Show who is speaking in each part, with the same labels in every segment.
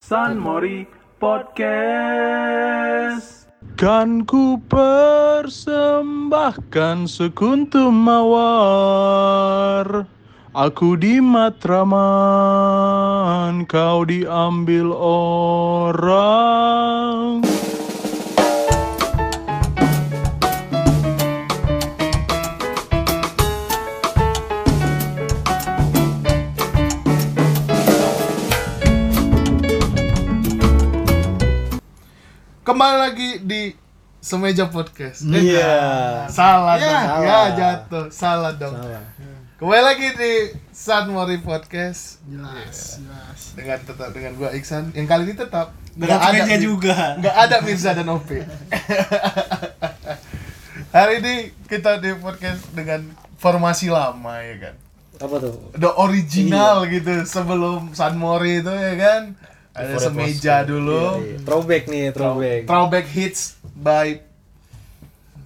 Speaker 1: San Mori Podcast.
Speaker 2: Kan ku persembahkan sekuntum mawar Aku di Matraman, kau diambil orang
Speaker 3: kembali lagi di semeja podcast Eh,
Speaker 4: Iya.
Speaker 3: salah
Speaker 4: Iya,
Speaker 3: dong
Speaker 4: salah.
Speaker 3: ya jatuh salah dong
Speaker 4: Salah.
Speaker 3: kembali lagi di San Mori podcast jelas jelas dengan tetap dengan gua Iksan yang kali ini tetap
Speaker 4: Dengan
Speaker 3: nggak
Speaker 4: semeja
Speaker 3: Mi-
Speaker 4: juga.
Speaker 3: nggak ada Mirza dan Opi hari ini kita di podcast dengan formasi lama ya kan
Speaker 4: Apa tuh?
Speaker 3: the original
Speaker 4: Iya.
Speaker 3: gitu sebelum San Mori itu ya kan ada semeja dulu
Speaker 4: Iya, iya. Throwback nih, throwback.
Speaker 3: Throwback Hits by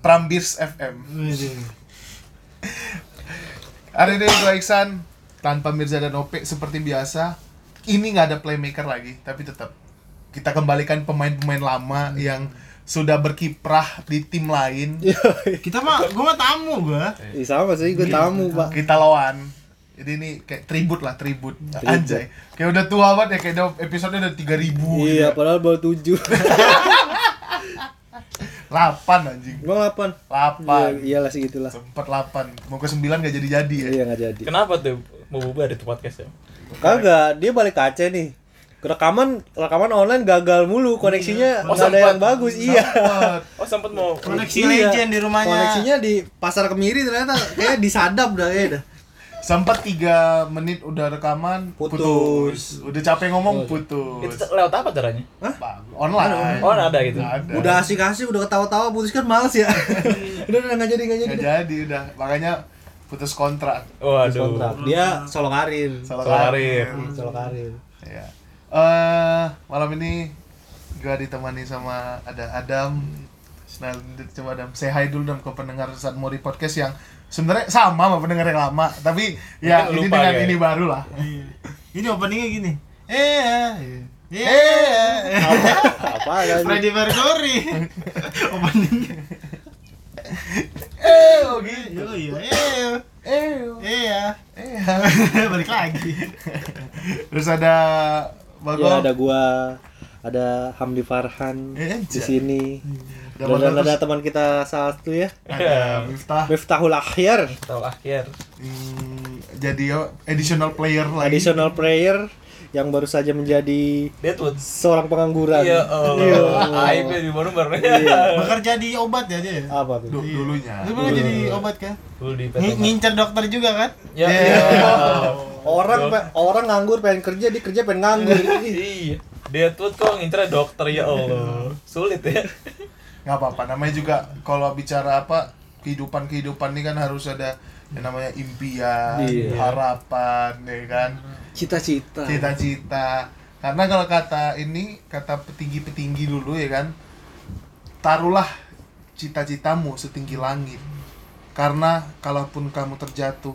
Speaker 3: Prambors FM. Hari ini gue Iksan tanpa Mirza dan Ope seperti biasa. Ini nggak ada playmaker lagi, tapi tetap kita kembalikan pemain-pemain lama yang sudah berkiprah di tim lain.
Speaker 5: kita mah gue mah tamu gue
Speaker 4: Ih, sama sih,
Speaker 5: Iya.
Speaker 4: gue tamu, Pak.
Speaker 3: Kita lawan. Jadi ini kayak tribut lah, tribut. Anjay. Kayak udah tua banget ya, kayak udah episode udah 3000 gitu
Speaker 4: Iya,
Speaker 3: ya.
Speaker 4: padahal baru tujuh.
Speaker 3: 8 anjing.
Speaker 4: Bang delapan.
Speaker 3: 8.
Speaker 4: Iya, iyalah segitulah.
Speaker 3: Sempat 8. Mau ke 9 gak jadi-jadi ya.
Speaker 4: Iya nggak jadi.
Speaker 6: Kenapa tuh mau bubar itu podcast ya?
Speaker 4: Kagak, dia balik kaca nih. Rekaman rekaman online gagal mulu, koneksinya
Speaker 6: Oh,
Speaker 4: nggak ada
Speaker 6: sempet.
Speaker 4: yang bagus. Iya.
Speaker 3: Sempet.
Speaker 6: Oh sempat mau
Speaker 5: koneksi
Speaker 4: Iya.
Speaker 5: legend di rumahnya
Speaker 4: Koneksinya di pasar kemiri ternyata kayak disadap dah kayaknya dah.
Speaker 3: Sempat tiga menit udah rekaman putus. Udah capek ngomong putus.
Speaker 6: itu lewat apa caranya?
Speaker 3: Bang, Online.
Speaker 6: Oh ada gitu.
Speaker 3: Kan Ada.
Speaker 5: Iya.
Speaker 4: Udah asik-asik, udah ketawa-tawa, putus kan males ya. udah udah nggak jadi nggak jadi.
Speaker 3: Nggak jadi udah. Makanya putus kontrak.
Speaker 4: Kontrak.
Speaker 6: Waduh.
Speaker 4: Dia solo karir.
Speaker 3: Salah
Speaker 6: Soal
Speaker 3: karir.
Speaker 6: karir.
Speaker 4: Solo karir.
Speaker 3: Iya. Eh, malam ini gua ditemani sama ada Adam. Nah, coba Adam, say hi dulu Adam ke pendengar saat Mori Podcast yang sebenarnya sama sama pendengar yang lama, tapi ya
Speaker 6: Mungkin
Speaker 3: ini
Speaker 6: lupa
Speaker 3: dengan
Speaker 6: kayak.
Speaker 3: ini baru lah.
Speaker 5: Iya. ini openingnya gini eh eh
Speaker 3: Eh,
Speaker 4: Apa kan?
Speaker 5: Freddie Mercury openingnya
Speaker 3: eh, oh gitu.
Speaker 5: Yo, iya eh
Speaker 3: Eh,
Speaker 5: iya
Speaker 3: eh.
Speaker 5: balik lagi
Speaker 3: Terus ada Bagong.
Speaker 4: Ya ada gua, ada Hamdi Farhan
Speaker 3: Eh, anjay.
Speaker 4: di sini.
Speaker 3: Ada
Speaker 4: Dan ada,
Speaker 3: Bagong,
Speaker 4: ada
Speaker 3: terus
Speaker 4: teman kita salah satu ya,
Speaker 3: ada Miftah.
Speaker 4: Miftahul Akhir,
Speaker 6: Tahu akhir.
Speaker 3: Hmm, jadi oh, additional player lagi.
Speaker 4: additional player yang baru saja menjadi
Speaker 6: Deadwoods.
Speaker 4: seorang pengangguran.
Speaker 6: Iya. oh.
Speaker 4: Iya.
Speaker 6: Aib ya di baru baru.
Speaker 5: bekerja di obat ya dia
Speaker 4: Apa tuh?
Speaker 3: Du- dulunya.
Speaker 5: lu pernah jadi obat kan
Speaker 6: Dulu di
Speaker 5: Ngi-
Speaker 6: PT.
Speaker 5: ngincer dokter juga kan
Speaker 6: Ya.
Speaker 3: Iya.
Speaker 6: iya.
Speaker 4: Orang pe- orang nganggur pengen kerja, dia kerja pengen nganggur. Ih,
Speaker 6: Oh. Iya. Deadwood kok ngincer dokter ya Allah. Sulit ya.
Speaker 3: nggak apa-apa namanya juga kalau bicara apa kehidupan kehidupan ini kan harus ada yang namanya impian,
Speaker 4: Iya.
Speaker 3: harapan, ya kan,
Speaker 4: Cita-cita.
Speaker 3: cita-cita. Karena kalau kata ini kata petinggi-petinggi dulu ya kan, taruhlah cita-citamu setinggi langit. Karena kalaupun kamu terjatuh,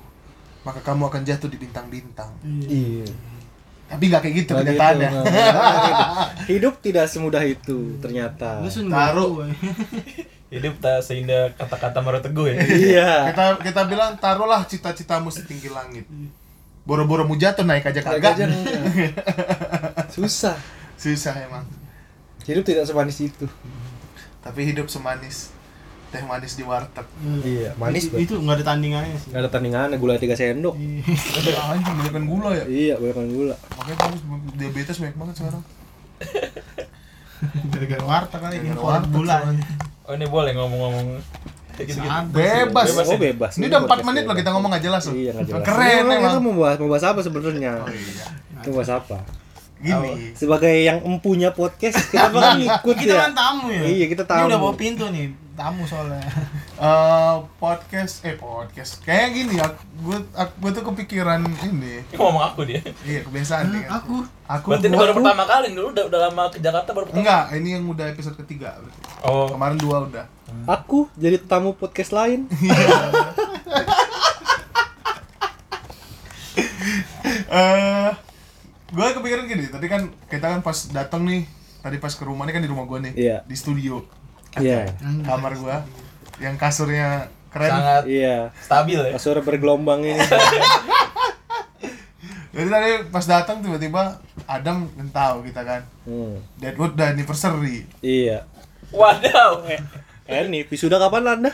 Speaker 3: maka kamu akan jatuh di bintang-bintang.
Speaker 4: Iya.
Speaker 3: Tapi nggak kayak gitu
Speaker 4: Nggak gitu,
Speaker 6: ya.
Speaker 3: kenyataannya.
Speaker 4: nggak. Nggak gitu. Hidup tidak semudah itu ternyata.
Speaker 5: lu sun
Speaker 3: Taruh.
Speaker 5: gua.
Speaker 6: Hidup tak seindah kata-kata Mario Teguh ya.
Speaker 4: Iya.
Speaker 3: kita kita bilang taruhlah cita-citamu setinggi langit. Boro-boro mu jatuh naik aja kagak.
Speaker 4: Kerja nggak. Susah.
Speaker 3: Susah emang.
Speaker 4: Hidup tidak semanis itu.
Speaker 3: Tapi hidup semanis teh manis di warteg.
Speaker 4: Iya,
Speaker 5: Itu- itu nggak ada tandingannya
Speaker 6: Iya.
Speaker 5: sih
Speaker 4: Gak ada tandingannya, gula 3 sendok.
Speaker 3: Iya, Anjing banyakan gula ya.
Speaker 4: Iya, banyakan gula.
Speaker 3: Makanya kamu diabetes banyak banget sekarang.
Speaker 5: gara-gara warteg kali ini
Speaker 3: Gara-gara
Speaker 5: bulan
Speaker 3: warteg
Speaker 5: bulan Gitu kan.
Speaker 3: soalnya.
Speaker 6: Oh ini boleh ngomong-ngomong. Kayak gitu-gitu.
Speaker 3: Bebas.
Speaker 6: Bebas
Speaker 4: Oh, bebas.
Speaker 3: Ini udah 4
Speaker 4: podcast
Speaker 3: menit loh
Speaker 4: bebas.
Speaker 3: kita ngomong nggak jelas loh.
Speaker 4: Iya, nggak jelas.
Speaker 3: Keren
Speaker 4: Ini
Speaker 3: emang.
Speaker 4: Kita mau bahas, mau bahas apa sebenarnya?
Speaker 3: Oh, iya.
Speaker 4: Itu bahas apa?
Speaker 3: Gini.
Speaker 4: Sebagai yang empunya podcast, kita bakal ngikut
Speaker 5: kita
Speaker 4: ya.
Speaker 5: kan tamu ya
Speaker 4: Iya, kita
Speaker 5: ini
Speaker 4: tamu.
Speaker 5: udah bawa pintu nih tamu soalnya
Speaker 3: eh, podcast eh podcast kayak gini ya gue gue tuh kepikiran ini
Speaker 6: Ini ngomong aku dia.
Speaker 3: iya kebiasaan nih kan.
Speaker 5: aku
Speaker 3: aku
Speaker 6: Berarti ini
Speaker 3: gua-
Speaker 6: baru pertama kali dulu udah udah lama ke Jakarta baru pertama.
Speaker 3: enggak ini yang udah episode ketiga berarti.
Speaker 6: Oh.
Speaker 3: kemarin dua udah
Speaker 4: Aku jadi tamu podcast lain.
Speaker 3: eh gue kepikiran gini tadi kan kita kan pas datang nih tadi pas ke rumahnya kan di rumah gue nih
Speaker 4: Iya.
Speaker 3: di studio
Speaker 4: Iya.
Speaker 3: kamar gue yang kasurnya keren
Speaker 6: sangat
Speaker 4: Iya.
Speaker 6: stabil ya
Speaker 4: Kasur bergelombang ini.
Speaker 3: jadi tadi pas datang tiba-tiba Adam ngentau kita kan
Speaker 4: Hmm.
Speaker 3: Deadwood udah anniversary
Speaker 4: Iya.
Speaker 6: wadaw
Speaker 4: Eh nih, wisuda kapan Anda?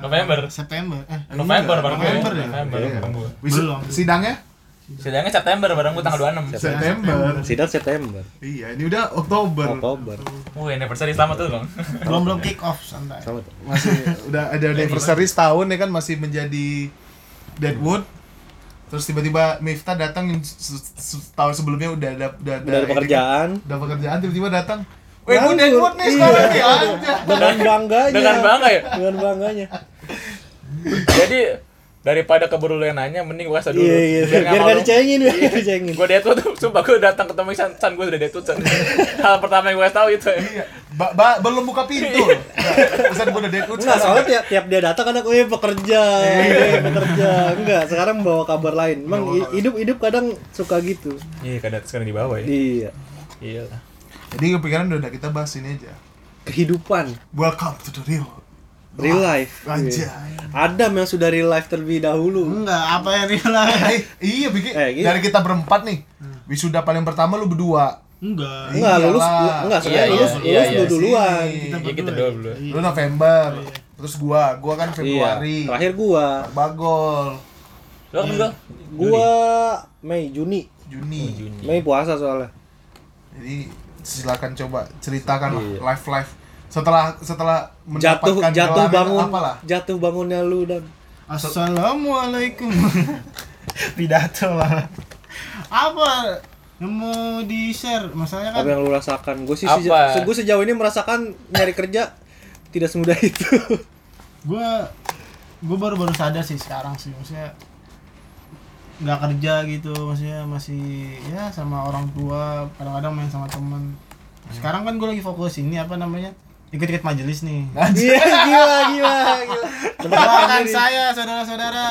Speaker 6: November
Speaker 5: September. Eh,
Speaker 6: November bareng gue
Speaker 5: November ya?
Speaker 6: November bareng gue
Speaker 3: Wisu-
Speaker 5: Belum.
Speaker 3: sidangnya
Speaker 6: sidangnya September bareng gue tanggal 26
Speaker 3: September
Speaker 4: Sidang September,
Speaker 3: iya ini udah Oktober
Speaker 4: Oktober.
Speaker 6: Wih, anniversary selamat tuh bang
Speaker 5: belum belum kick off santai.
Speaker 4: Sama tuh.
Speaker 3: masih udah
Speaker 4: Iya,
Speaker 3: ada anniversary setahun ya kan masih menjadi Deadwood terus tiba-tiba Miftah datang yang se- se- setahun sebelumnya udah ada udah ada,
Speaker 4: Udah ada
Speaker 3: ini
Speaker 4: pekerjaan.
Speaker 3: kan, udah pekerjaan tiba-tiba datang Weh, gue
Speaker 4: Nganggur.
Speaker 3: Deadwood nih
Speaker 4: Iya.
Speaker 3: sekarang nih aja
Speaker 4: Dengan bangganya.
Speaker 6: dengan bangga ya
Speaker 4: Dengan bangganya.
Speaker 6: jadi daripada keburu lu yang nanya mending gue asa dulu
Speaker 4: Iya iya.
Speaker 6: Biar nggak
Speaker 4: Biar nggak
Speaker 6: malu.
Speaker 4: dicengin, biar nggak dicengin.
Speaker 6: gue deadwood tuh sumpah gue datang ketemu San, San gue udah deadwood San hal pertama yang gue tahu itu
Speaker 3: Iya. Ba- ba- belum buka pintu loh. Nah, Ustaz gue udah Deadwood
Speaker 4: Iya. Enggak,
Speaker 3: sekarang.
Speaker 4: soalnya tiap, tiap dia datang kan aku eh pekerja, eh pekerja. Enggak, sekarang bawa kabar lain. Emang i- hidup-hidup kadang suka gitu.
Speaker 6: iya kadang sekarang di bawah
Speaker 4: Iya.
Speaker 6: iya
Speaker 3: jadi kepikiran udah kita bahas ini aja
Speaker 4: Kehidupan,
Speaker 3: welcome to the real
Speaker 4: real life.
Speaker 3: Anjay. Hmm,
Speaker 4: Iya. Adam yang sudah real life terlebih dahulu.
Speaker 5: Enggak, apa yang bilang?
Speaker 3: Eh, iya bikin
Speaker 4: Eh, gitu.
Speaker 3: dari kita berempat nih wisuda paling pertama lu berdua
Speaker 5: Enggak.
Speaker 4: Enggak, lulus
Speaker 3: Iyalah.
Speaker 4: enggak, sebenarnya
Speaker 6: Iya,
Speaker 4: lulus,
Speaker 6: iya,
Speaker 4: lulus
Speaker 6: iya,
Speaker 4: lu
Speaker 6: iya.
Speaker 4: duluan.
Speaker 3: Sini.
Speaker 6: iya kita dua dulu
Speaker 3: Lu November, terus gua, gua kan
Speaker 4: Iya.
Speaker 3: Februari.
Speaker 4: Terakhir gua.
Speaker 3: Bagol
Speaker 6: lo kan gue
Speaker 4: Gua Mei, Oh, Juni.
Speaker 3: Juni.
Speaker 4: Mei puasa soalnya.
Speaker 3: Jadi silakan coba ceritakan
Speaker 4: Iya.
Speaker 3: live live setelah setelah
Speaker 4: Jatuh
Speaker 3: mendapatkan
Speaker 4: jatuh
Speaker 3: gelar
Speaker 4: bangun.
Speaker 3: apalah.
Speaker 4: Jatuh bangunnya lu dan
Speaker 5: Assalamualaikum. Pidato lah. Apa yang mau di share? Masalahnya kan
Speaker 4: apa yang lu rasakan? Gue sih
Speaker 6: Apa?
Speaker 4: seja- se- gua sejauh ini merasakan nyari kerja tidak semudah itu.
Speaker 5: gue gue baru baru sadar sih sekarang sih maksudnya nggak kerja gitu maksudnya masih ya sama orang tua kadang-kadang main sama temen sekarang kan gue lagi fokus ini apa namanya ikut-ikut majelis nih
Speaker 4: Iya, gila, gila, gila.
Speaker 5: doakan saya saudara-saudara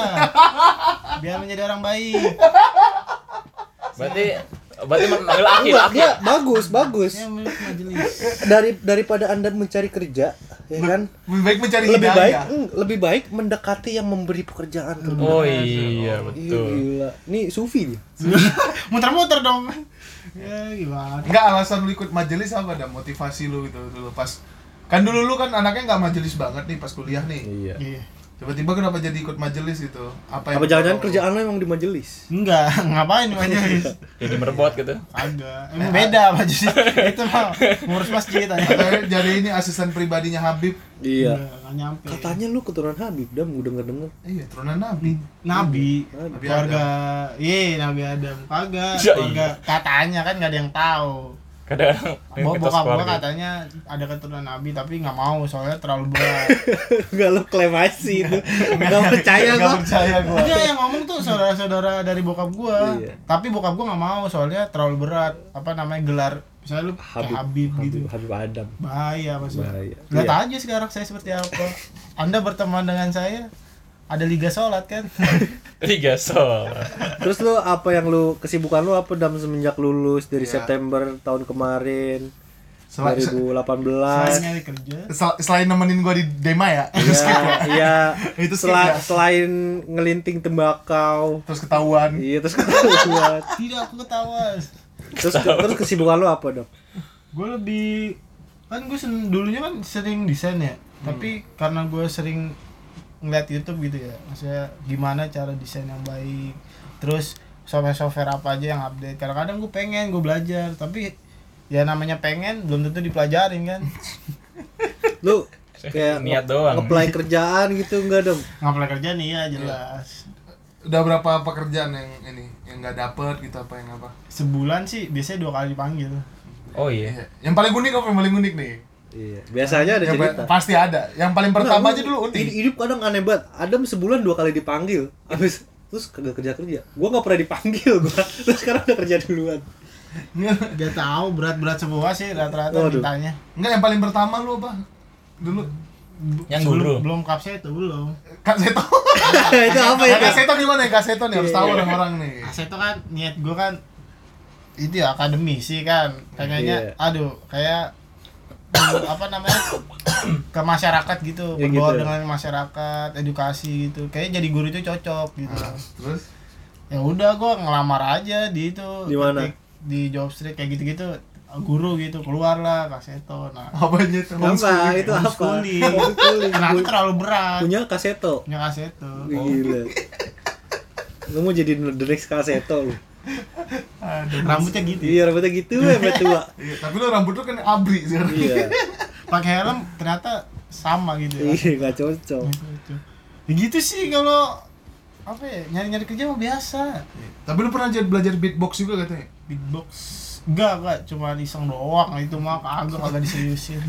Speaker 5: biar menjadi orang baik
Speaker 6: berarti berarti manggil aki
Speaker 4: Enggak,
Speaker 6: aki
Speaker 4: dia bagus, bagus.
Speaker 5: ya ikut majelis
Speaker 4: Dari daripada Anda mencari kerja, ya kan?
Speaker 3: Lebih baik mencari
Speaker 4: Lebih baik,
Speaker 3: hidayah.
Speaker 4: mm, lebih baik mendekati yang memberi pekerjaan terlebih
Speaker 6: oh iya
Speaker 4: Iya,
Speaker 6: betul
Speaker 4: gila. Ini sufi dia.
Speaker 5: muter-muter dong ya gimana
Speaker 3: Enggak alasan lu ikut majelis apa ada motivasi lu gitu dulu pas kan dulu lu kan anaknya nggak majelis banget nih pas kuliah nih.
Speaker 4: Iya.
Speaker 5: Iya.
Speaker 3: Tiba-tiba kenapa jadi ikut majelis gitu? Apa
Speaker 4: Apa
Speaker 3: mendorong
Speaker 4: jangan-jangan
Speaker 3: lu?
Speaker 4: kerjaan lo emang di majelis?
Speaker 5: enggak ngapain majelis
Speaker 6: jadi merebot gitu
Speaker 5: agak emang beda majelis itu mah ngurus masjid aja
Speaker 3: Katanya Jadi ini asisten pribadinya Habib.
Speaker 4: Iya.
Speaker 5: nggak nyampe
Speaker 4: Katanya lu keturunan Habib, Dam, udah denger denger.
Speaker 3: Iya, turunan Nabi.
Speaker 5: Nabi,
Speaker 3: Nabi
Speaker 5: keluarga, iya Nabi Adam, kagak,
Speaker 6: Ya,
Speaker 5: keluarga katanya kan nggak ada yang tahu.
Speaker 6: kadang
Speaker 5: Bo- Bokap gua katanya ada keturunan Nabi tapi nggak mau soalnya terlalu berat.
Speaker 4: Enggak lu klaim aja sih itu. Enggak percaya
Speaker 3: Nggak
Speaker 4: gua.
Speaker 3: percaya gua.
Speaker 5: Enggak yang ngomong tuh saudara-saudara dari bokap gua,
Speaker 4: Iya.
Speaker 5: tapi bokap gua nggak mau soalnya terlalu berat. Apa namanya gelar? Misalnya lu
Speaker 4: Habib,
Speaker 5: kayak Habib, gitu,
Speaker 4: Habib, Habib Adam.
Speaker 5: bahaya maksudnya.
Speaker 4: Bahaya.
Speaker 5: Lihat
Speaker 4: Iya.
Speaker 5: aja sekarang saya seperti apa. Anda berteman dengan saya, ada liga sholat kan?
Speaker 6: tiga sol
Speaker 4: Terus lu apa yang lu kesibukan lu apa Dam semenjak lulus dari
Speaker 3: Iya.
Speaker 4: September tahun kemarin
Speaker 3: Sel-
Speaker 4: 2018?
Speaker 5: Saya nyari kerja.
Speaker 3: sel- selain nemenin gua di Dema ya,
Speaker 4: Iya, iya.
Speaker 3: Itu skip
Speaker 4: Sela-
Speaker 3: ya?
Speaker 4: selain ngelinting tembakau,
Speaker 3: terus ketahuan.
Speaker 4: iya terus ketahuan.
Speaker 5: Tidak aku ketawa.
Speaker 4: terus terus kesibukan lu apa, Dam?
Speaker 5: gue lebih kan gue dulunya kan sering desain ya tapi karena gue sering ngeliat YouTube gitu ya maksudnya gimana cara desain yang baik terus software-software apa aja yang update kadang-kadang gue pengen gue belajar tapi ya namanya pengen belum tentu dipelajarin kan
Speaker 4: Lu kayak
Speaker 6: Niat
Speaker 4: nge-
Speaker 6: doang.
Speaker 4: ngeplay kerjaan gitu enggak, Dam?
Speaker 5: ngapain kerja nih ya jelas
Speaker 3: Udah berapa pekerjaan yang ini yang nggak dapet gitu apa yang apa?
Speaker 5: sebulan sih biasanya dua kali dipanggil
Speaker 6: oh iya
Speaker 3: Yang paling unik apa yang paling unik nih?
Speaker 4: Iya, biasanya ada
Speaker 3: Yang
Speaker 4: cerita.
Speaker 3: pa- pasti ada. Yang paling Ya, pertama
Speaker 4: Enggak,
Speaker 3: aja
Speaker 4: lu-
Speaker 3: dulu unik.
Speaker 4: hid- Hidup kadang aneh banget. Adam sebulan dua kali dipanggil. Habis terus kagak kerja kerja. Gua nggak pernah dipanggil gua. Terus sekarang udah kerja duluan.
Speaker 5: gak tahu berat-berat semua sih rata-rata
Speaker 4: Waduh.
Speaker 5: mintanya
Speaker 3: Enggak yang paling pertama lu apa? Dulu
Speaker 6: yang
Speaker 5: belum
Speaker 6: guru
Speaker 5: belum kapsnya itu belum
Speaker 3: Kak Seto.
Speaker 4: itu apa
Speaker 3: Nah,
Speaker 4: ya? Iya, itu?
Speaker 3: ya? Kak Seto gimana ya? Kak Seto nih harus tahu orang-orang nih.
Speaker 5: Aseto kan niat gue kan itu ya, akademisi kan pengennya
Speaker 4: Iya.
Speaker 5: aduh kayak eh, apa namanya ke masyarakat gitu
Speaker 4: Ya,
Speaker 5: berbaur
Speaker 4: gitu.
Speaker 5: dengan masyarakat edukasi gitu kayak jadi guru itu cocok gitu
Speaker 4: Ah.
Speaker 3: Nah, terus
Speaker 5: ya udah gua ngelamar aja di itu
Speaker 4: Di mana?
Speaker 5: di job street kayak gitu gitu guru gitu keluar lah kaseto nah
Speaker 3: apanya tuh?
Speaker 4: apa itu apa
Speaker 5: homeschooling.
Speaker 4: Homeschooling. Oh.
Speaker 5: karena aku terlalu berat
Speaker 4: punya kaseto
Speaker 5: punya kaseto
Speaker 4: gila lu mau jadi the next kaseto lu
Speaker 5: rambutnya gitu
Speaker 4: iya rambutnya gitu ya sampai tua
Speaker 3: Iya, tapi lu rambut lu kan abri sekarang.
Speaker 4: iya
Speaker 5: pakai helm ternyata sama gitu ya
Speaker 4: iya nggak cocok
Speaker 5: Gitu, gitu. Ya gitu sih kalau apa ya nyari-nyari kerja mah biasa
Speaker 3: Tapi lu pernah jadi belajar beatbox juga katanya?
Speaker 5: beatbox enggak enggak cuma iseng doang itu mah kagak kagak diseriusin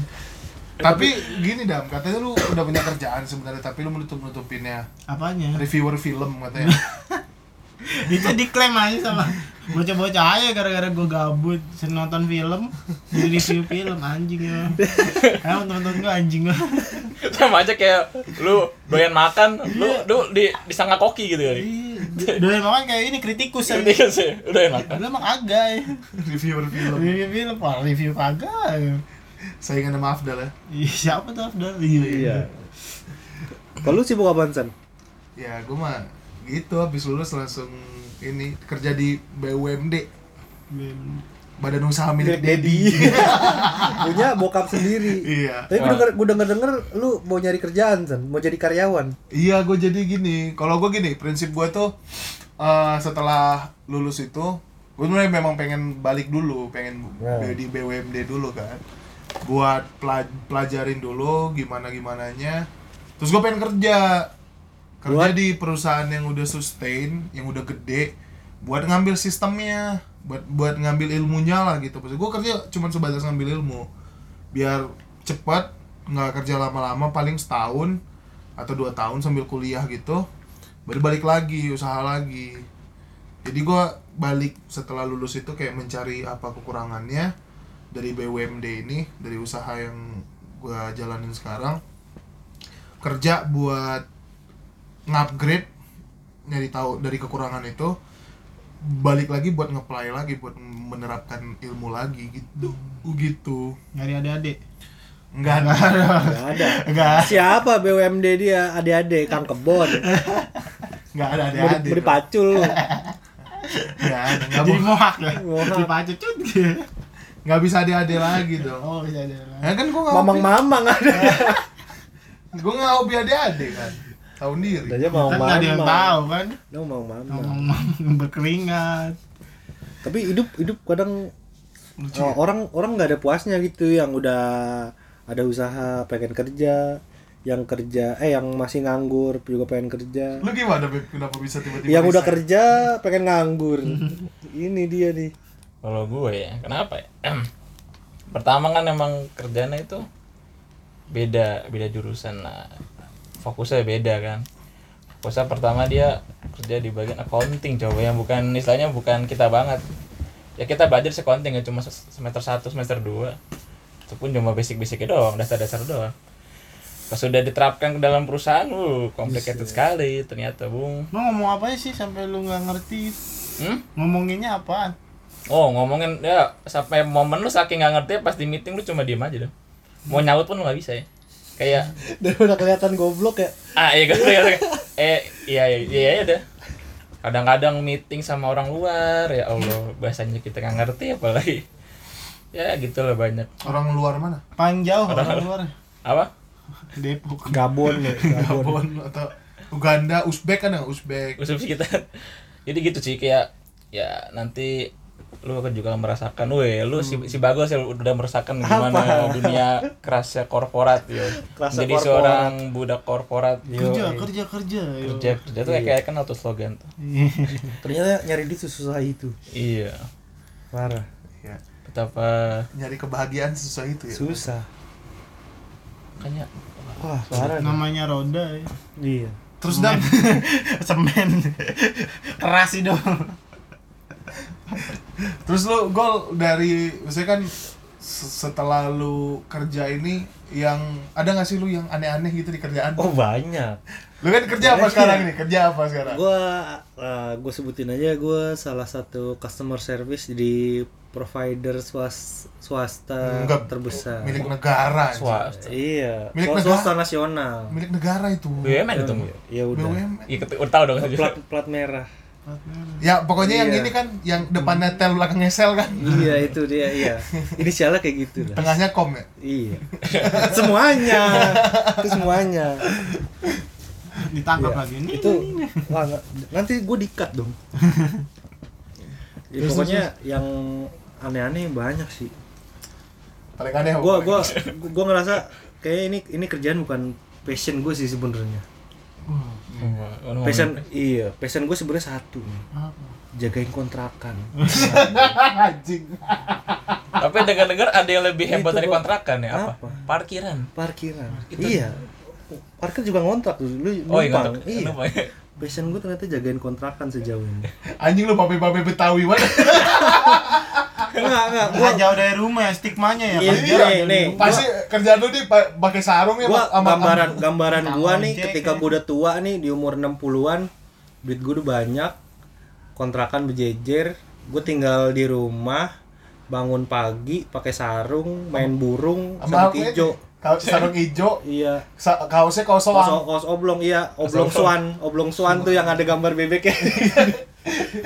Speaker 3: Eh, tapi gini dam, katanya lu udah punya kerjaan sebenarnya tapi lu menutup nutupinnya
Speaker 5: apanya
Speaker 3: reviewer film katanya.
Speaker 5: itu diklaim aja sama bocah-bocah aja gara-gara gue gabut sering nonton film jadi review film anjing ya emang temen-temen gue anjing lah
Speaker 6: sama aja kayak lu doyan makan lu lu di disangka koki gitu
Speaker 5: Iya.
Speaker 6: kali
Speaker 5: doyan makan kan kayak ini kritikus
Speaker 6: ngerti
Speaker 5: aja
Speaker 6: kan sih lu doyan makan
Speaker 5: lu emang agak ya
Speaker 3: reviewer film.
Speaker 5: review film wah review kagak ya.
Speaker 3: Saingan sama Afdal ya.
Speaker 5: Ih, siapa tuh Afdal iya iya
Speaker 4: iya kalau lu sibuk apaan san
Speaker 3: Ya, gua mah gitu habis lulus langsung ini kerja di BUMD,
Speaker 5: Belum.
Speaker 3: Badan Usaha Milik Dedi.
Speaker 4: Daddy punya bokap sendiri
Speaker 3: Iya.
Speaker 4: tapi gue denger, gue denger denger lu mau nyari kerjaan san mau jadi karyawan
Speaker 3: Iya, gue jadi gini. Kalau gue gini, prinsip gue tuh eh, setelah lulus itu, gue sebenarnya memang pengen balik dulu, pengen
Speaker 4: Ya.
Speaker 3: di BUMD dulu kan. Buat pela- pelajarin dulu gimana gimananya. Terus gue pengen kerja, kerja
Speaker 4: Buat?
Speaker 3: di perusahaan yang udah sustain, yang udah gede, buat ngambil sistemnya, buat buat ngambil ilmunya lah gitu. Maksud gue kerja cuman sebatas ngambil ilmu, biar cepat nggak kerja lama-lama paling setahun atau dua tahun sambil kuliah gitu baru balik lagi usaha lagi jadi gua balik setelah lulus itu kayak mencari apa kekurangannya dari BUMD ini dari usaha yang gua jalanin sekarang kerja buat ngupgrade nyari tahu dari kekurangan itu balik lagi buat ngeplay lagi buat menerapkan ilmu lagi gitu gitu
Speaker 5: nyari adik-adik
Speaker 3: nggak ada
Speaker 4: nggak ada
Speaker 5: enggak
Speaker 4: siapa BUMD dia adik-adik kang kebon
Speaker 3: nggak ada ada
Speaker 4: beri, beri pacul lu.
Speaker 3: nggak ada nggak
Speaker 5: jadi
Speaker 3: mau-
Speaker 5: mohak ya
Speaker 4: Mohak.
Speaker 5: dipacu cut gitu
Speaker 3: nggak bisa ada ada lagi dong
Speaker 5: oh
Speaker 4: iya,
Speaker 5: bisa ada
Speaker 3: Ya kan gua nggak
Speaker 4: mamang mamang ada
Speaker 3: gue nggak hobi adik-adik kan tahun diri
Speaker 4: adanya
Speaker 5: kan
Speaker 4: mamang
Speaker 5: nggak ada yang
Speaker 4: mamang
Speaker 5: tahu kan
Speaker 4: Lu mamang mamang
Speaker 5: ngomong berkeringat
Speaker 4: tapi hidup hidup kadang
Speaker 3: lucu
Speaker 4: Oh, orang orang nggak ada puasnya gitu yang udah ada usaha pengen kerja yang kerja eh yang masih nganggur juga pengen kerja
Speaker 3: lu gimana Beb? kenapa bisa tiba-tiba
Speaker 4: Iya. yang udah
Speaker 3: resign?
Speaker 4: kerja pengen nganggur ini dia nih
Speaker 6: kalau gue ya kenapa ya pertama kan emang kerjanya itu beda beda jurusan nah, fokusnya beda kan fokusnya pertama dia kerja di bagian accounting coba yang bukan istilahnya bukan kita banget ya kita belajar sih accounting ya cuma se- semester 1 semester 2 itu pun cuma basic-basicnya doang dasar-dasar doang pas sudah diterapkan ke dalam perusahaan uh complicated sekali ternyata bung
Speaker 5: lu ngomong apa sih sampai lu nggak ngerti
Speaker 6: hmm?
Speaker 5: ngomonginnya apaan
Speaker 6: Oh ngomongin ya sampai momen lu saking nggak ngerti pas di meeting lu cuma diem aja dong. Mau nyaut pun lu nggak bisa ya. Kayak
Speaker 4: dan udah kelihatan goblok ya
Speaker 6: ah iya gitu gitu. Eh iya iya iya iya dah. Kadang-kadang meeting sama orang luar ya Allah bahasanya kita nggak ngerti apalagi. Ya gitulah banyak.
Speaker 3: orang luar mana
Speaker 5: paling jauh orang luar
Speaker 6: Apa?
Speaker 5: Depok
Speaker 4: gabon ya gabon
Speaker 3: Gabon atau Uganda Uzbek kan ya Uzbek
Speaker 6: Usus kita. Jadi gitu sih kayak ya nanti lu akan juga merasakan, weh lu
Speaker 4: Hmm.
Speaker 6: si, si bagus ya udah merasakan gimana dunia kerasnya korporat yo.
Speaker 4: Kerasnya
Speaker 6: Jadi
Speaker 4: korporat.
Speaker 6: seorang budak korporat yo.
Speaker 5: kerja
Speaker 4: iya.
Speaker 5: kerja kerja yo.
Speaker 6: kerja kerja tuh kayak kenal tuh slogan tuh
Speaker 4: ternyata nyari duit susah itu
Speaker 6: iya
Speaker 4: parah
Speaker 3: ya
Speaker 6: betapa
Speaker 3: nyari kebahagiaan sesuai itu ya
Speaker 4: susah
Speaker 6: makanya
Speaker 4: wah parah nih.
Speaker 5: iya. namanya roda ya.
Speaker 4: iya
Speaker 3: terus dam
Speaker 5: semen keras sih dong
Speaker 3: terus lu gol dari misalnya kan se- setelah lu kerja ini yang ada nggak sih lu yang aneh-aneh gitu di kerjaan
Speaker 4: oh banyak
Speaker 3: Lu kan kerja apa sekarang nih? Kerja apa sekarang?
Speaker 4: ya. Gua eh, gua sebutin aja gua salah satu customer service di provider swas- swasta
Speaker 3: Enggak.
Speaker 4: terbesar.
Speaker 3: Milik negara. anjing.
Speaker 6: swasta
Speaker 4: Iya,
Speaker 3: Milik
Speaker 4: swa-
Speaker 3: negara.
Speaker 4: swasta nasional.
Speaker 3: Milik negara itu.
Speaker 6: BUMN itu Bu.
Speaker 4: Ya udah.
Speaker 3: BUMN.
Speaker 6: Iya, ketu- udah tahu dong.
Speaker 4: Plat plat merah.
Speaker 3: Ya pokoknya yang
Speaker 4: Iya.
Speaker 3: ini kan yang depannya tel belakangnya sel kan.
Speaker 4: iya, itu dia, iya. Inisialnya kayak gitu lah.
Speaker 3: Tengahnya kom ya.
Speaker 4: Iya. semuanya. Itu semuanya.
Speaker 5: ditangkap
Speaker 4: Iya.
Speaker 5: lagi ini
Speaker 4: Itu
Speaker 3: iya.
Speaker 4: wah, nggak- nanti gue dikat dong. Ya, pokoknya yang aneh-aneh banyak sih.
Speaker 3: Paling aneh. apa?
Speaker 4: Gua gua gua ngerasa kayak ini ini kerjaan bukan passion gue sih sebenarnya. Passion iya, passion gue sebenarnya satu. nih. Jagain kontrakan.
Speaker 3: anjing.
Speaker 6: Tapi dengar-dengar ada yang lebih hebat
Speaker 4: Itu,
Speaker 6: dari
Speaker 4: Bang.
Speaker 6: kontrakan ya apa?
Speaker 4: Apa?
Speaker 6: Parkiran.
Speaker 4: Parkiran. Iya. Parkir juga ngontrak tuh. Lu
Speaker 6: Oh iya,
Speaker 4: numpang.
Speaker 6: kontrak-
Speaker 4: Iya.
Speaker 6: numpang.
Speaker 4: Passion gue ternyata jagain kontrakan sejauh ini.
Speaker 3: Anjing lu babe-babe Betawi banget.
Speaker 4: Enggak, enggak.
Speaker 5: nggak jauh dari rumah ya stigmanya ya
Speaker 4: Iya,
Speaker 5: Pak. Jauh dari
Speaker 4: nih.
Speaker 5: rumah.
Speaker 3: Pasti kerjaan lu nih pa- pakai sarung ya
Speaker 4: gua
Speaker 3: Pak, sama-
Speaker 4: gambaran gambaran
Speaker 5: Tukang
Speaker 4: gua nih
Speaker 5: ojek
Speaker 4: ketika
Speaker 5: ya.
Speaker 4: gua udah tua nih di umur 60-an duit gua udah banyak kontrakan berjejer gua tinggal di rumah bangun pagi pakai sarung main burung
Speaker 3: sama
Speaker 4: sama
Speaker 3: aku ya,
Speaker 4: hijau
Speaker 3: kaos- sarung hijau,
Speaker 4: iya
Speaker 3: sa- kaosnya kaos
Speaker 4: kaos,
Speaker 3: soang.
Speaker 4: kaos oblong iya oblong swan oblong swan tuh yang ada gambar bebeknya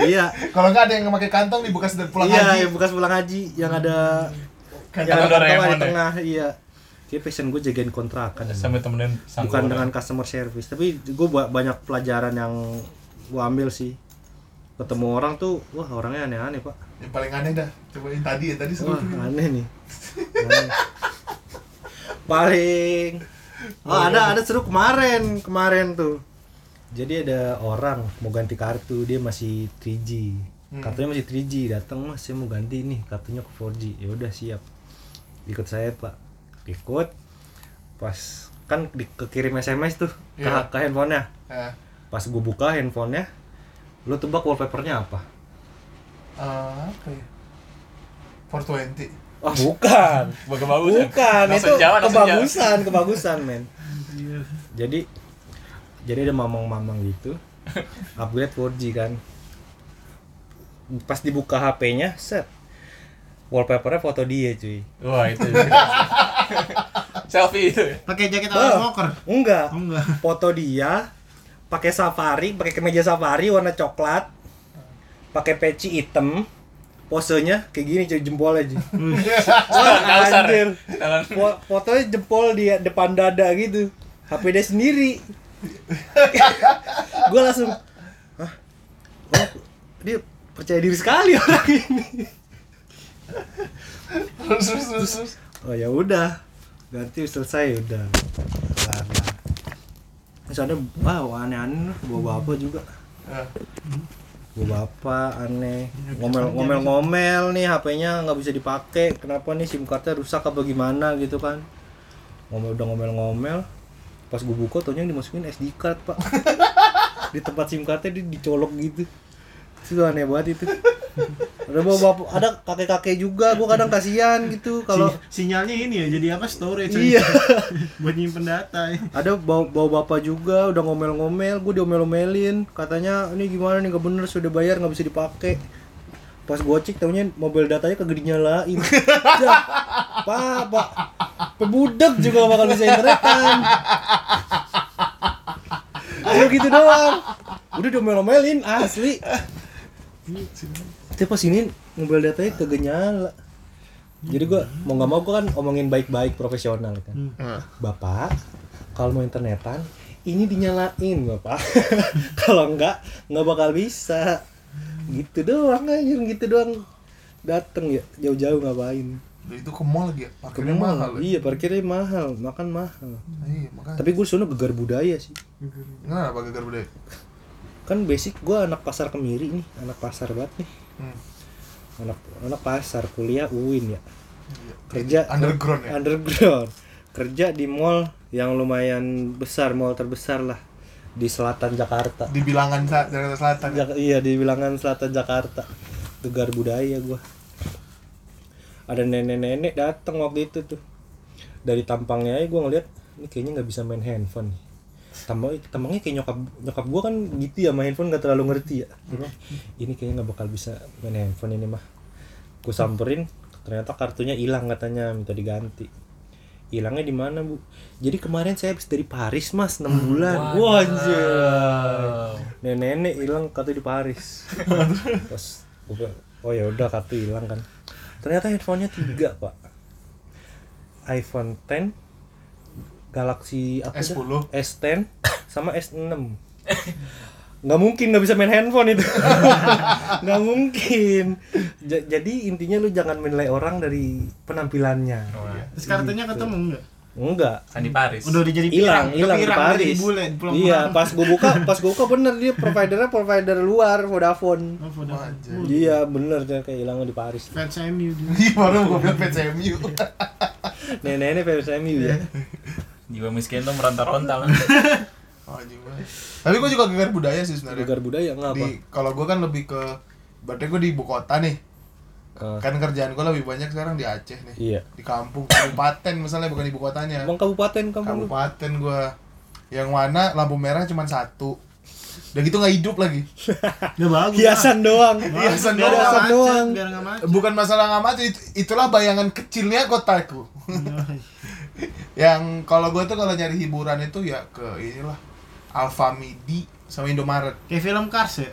Speaker 4: iya
Speaker 3: Kalau nggak ada yang pakai kantong dibuka dari pulang
Speaker 4: iya,
Speaker 3: haji.
Speaker 4: yang bekas pulang haji yang ada
Speaker 3: Kantong
Speaker 4: yang ada
Speaker 6: Doraemon
Speaker 4: kantong di
Speaker 6: ya.
Speaker 4: tengah iya kayak passion gue jagain kontrakan
Speaker 6: Sampai temenin
Speaker 4: bukan
Speaker 6: sanggup.
Speaker 4: dengan customer service tapi gue banyak pelajaran yang gue ambil sih ketemu orang tuh wah orangnya aneh-aneh pak
Speaker 3: Yang paling aneh dah. Coba yang tadi ya tadi seru.
Speaker 4: wah aneh nih Aneh. paling oh ada ada seru kemarin kemarin tuh jadi ada orang mau ganti kartu dia masih 3G kartunya masih 3G datang mas saya mau ganti nih kartunya ke 4G ya udah siap ikut saya pak ikut pas kan di, kekirim SMS tuh ke,
Speaker 3: Iya.
Speaker 4: ke handphonenya
Speaker 3: Eh,
Speaker 4: pas gue buka handphonenya lu tebak wallpapernya apa
Speaker 3: eh, apa ya? 420.
Speaker 4: oh bukan
Speaker 6: Bagus-bagus. ya?
Speaker 4: bukan itu
Speaker 6: Langsung Jawa, langsung Jawa.
Speaker 4: kebagusan kebagusan men jadi jadi ada mamang-mamang gitu upgrade 4G kan pas dibuka HP-nya set wallpapernya foto dia cuy
Speaker 6: Wah, itu. Selfie itu.
Speaker 5: pakai jaket
Speaker 4: Oh.
Speaker 5: ala smoker
Speaker 4: enggak
Speaker 5: Oh, enggak
Speaker 4: foto dia pakai safari pakai kemeja safari warna coklat pakai peci hitam posenya kayak gini cuy jempol aja
Speaker 6: Tangan kausar.
Speaker 4: anjir.
Speaker 6: Tangan.
Speaker 4: Fo- fotonya jempol di depan dada gitu HP dia sendiri gue langsung Hah? Oh, dia percaya diri sekali orang ini
Speaker 3: Terus terus terus. terus.
Speaker 4: oh ya udah berarti selesai udah kelar lah misalnya wow aneh-aneh lah, bawa bapak juga
Speaker 3: Eh,
Speaker 4: bawa bapak aneh ngomel ngomel ngomel nih HP-nya nggak bisa dipakai kenapa nih SIM cardnya rusak apa gimana gitu kan ngomel udah ngomel ngomel pas gue buka taunya yang dimasukin SD card pak di tempat SIM cardnya dia dicolok gitu itu aneh banget itu ada bawa bapak ada kakek kakek juga gue kadang kasihan gitu kalau
Speaker 5: Sinyal- sinyalnya ini ya jadi apa storage
Speaker 4: Iya.
Speaker 5: buat nyimpen data ya.
Speaker 4: ada bawa, bawa bapak juga udah ngomel-ngomel gue diomel-omelin katanya ini gimana nih gak bener sudah bayar nggak bisa dipakai pas gue cek taunya mobil datanya kagak dinyalain Dah, pak pak pebudak juga bakal bisa internetan Udah gitu doang udah diomel-omelin asli tapi pas ini mobil datanya kagak nyala jadi gue mau nggak mau gue kan omongin baik-baik profesional kan Bapak, kalau mau internetan, ini dinyalain Bapak. kalau enggak, nggak bakal bisa. Gitu doang anjir, gitu doang. Dateng ya, jauh-jauh ngapain.
Speaker 3: Lu itu ke mall lagi ya?
Speaker 4: Ke
Speaker 3: Parkirnya
Speaker 4: mall.
Speaker 3: mahal ya?
Speaker 4: Iya, parkirnya mahal, makan mahal.
Speaker 3: Iya, makanya. Nah,
Speaker 4: Tapi gue sono gegar budaya sih.
Speaker 3: Kenapa gagal budaya?
Speaker 4: Kan basic gue anak pasar kemiri nih, anak pasar banget nih.
Speaker 3: Hmm.
Speaker 4: Anak anak pasar, kuliah UIN ya.
Speaker 3: Iya.
Speaker 4: Kerja
Speaker 3: Underground ya?
Speaker 4: underground kerja di mall yang lumayan besar mall terbesar lah di selatan Jakarta
Speaker 3: Di bilangan Sa- Jakarta Selatan. ya?
Speaker 4: Jak- iya di bilangan selatan Jakarta gegar budaya gua ada nenek-nenek datang waktu itu tuh dari tampangnya aja gua ngeliat ini kayaknya nggak bisa main handphone nih tambah tambangnya kayak nyokap nyokap gua kan gitu ya main handphone nggak terlalu ngerti ya Gua bilang, ini kayaknya nggak bakal bisa main handphone ini mah ku samperin ternyata kartunya hilang katanya minta diganti hilangnya di mana bu jadi kemarin saya habis dari Paris mas 6 bulan wah anjir nenek-nenek hilang kartu di Paris pas gua bilang, oh ya udah kartu hilang kan ternyata handphonenya tiga pak iPhone 10 Galaxy apa dah?
Speaker 3: S10.
Speaker 4: S10 sama S6 nggak mungkin nggak bisa main handphone itu nggak mungkin Ja- jadi intinya lu jangan menilai orang dari penampilannya
Speaker 5: Terus
Speaker 4: Iya,
Speaker 5: kartunya ketemu enggak?
Speaker 4: enggak
Speaker 6: kan di Paris
Speaker 5: Udah dijadi
Speaker 4: hilang
Speaker 5: pirang,
Speaker 4: hilang di
Speaker 5: pirang, udah jadi
Speaker 4: Paris
Speaker 5: bule, pulang
Speaker 4: iya pas gue buka pas gue buka bener dia providernya provider luar Vodafone
Speaker 5: Oh, udah.
Speaker 3: Anjir.
Speaker 4: Iya bener dia kehilangan di Paris.
Speaker 5: Fans MU dulu.
Speaker 3: Ih, baru gue bilang fans MU.
Speaker 4: Iya. Nenek-nenek fans MU
Speaker 3: Iya.
Speaker 4: ya.
Speaker 6: jiwa miskin tuh meronta-ronta lah
Speaker 3: Oh, anjing banget. Tapi gue juga gegar budaya sih sebenarnya.
Speaker 4: Gegar budaya ya, nggak apa?
Speaker 3: Di kalau gue kan lebih ke berarti gue di ibu kota nih.
Speaker 4: Ah,
Speaker 3: Kan kerjaan gue lebih banyak sekarang di Aceh nih.
Speaker 4: iya.
Speaker 3: Di kampung, kabupaten misalnya bukan ibu kotanya.
Speaker 4: Bang kabupaten kamu lu.
Speaker 3: Kabupaten gue yang mana lampu merah cuma satu. Udah gitu nggak hidup lagi.
Speaker 5: Udah bagus.
Speaker 4: hiasan doang.
Speaker 3: Hiasan doang.
Speaker 5: Biar nggak macet,
Speaker 4: doang.
Speaker 5: Biar enggak macet.
Speaker 3: Bukan masalah nggak mati, itu- itulah bayangan kecilnya kotaku. yang kalau gue tuh kalau nyari hiburan itu ya ke inilah Alfamidi sama Indomaret.
Speaker 5: Kayak film Cars ya?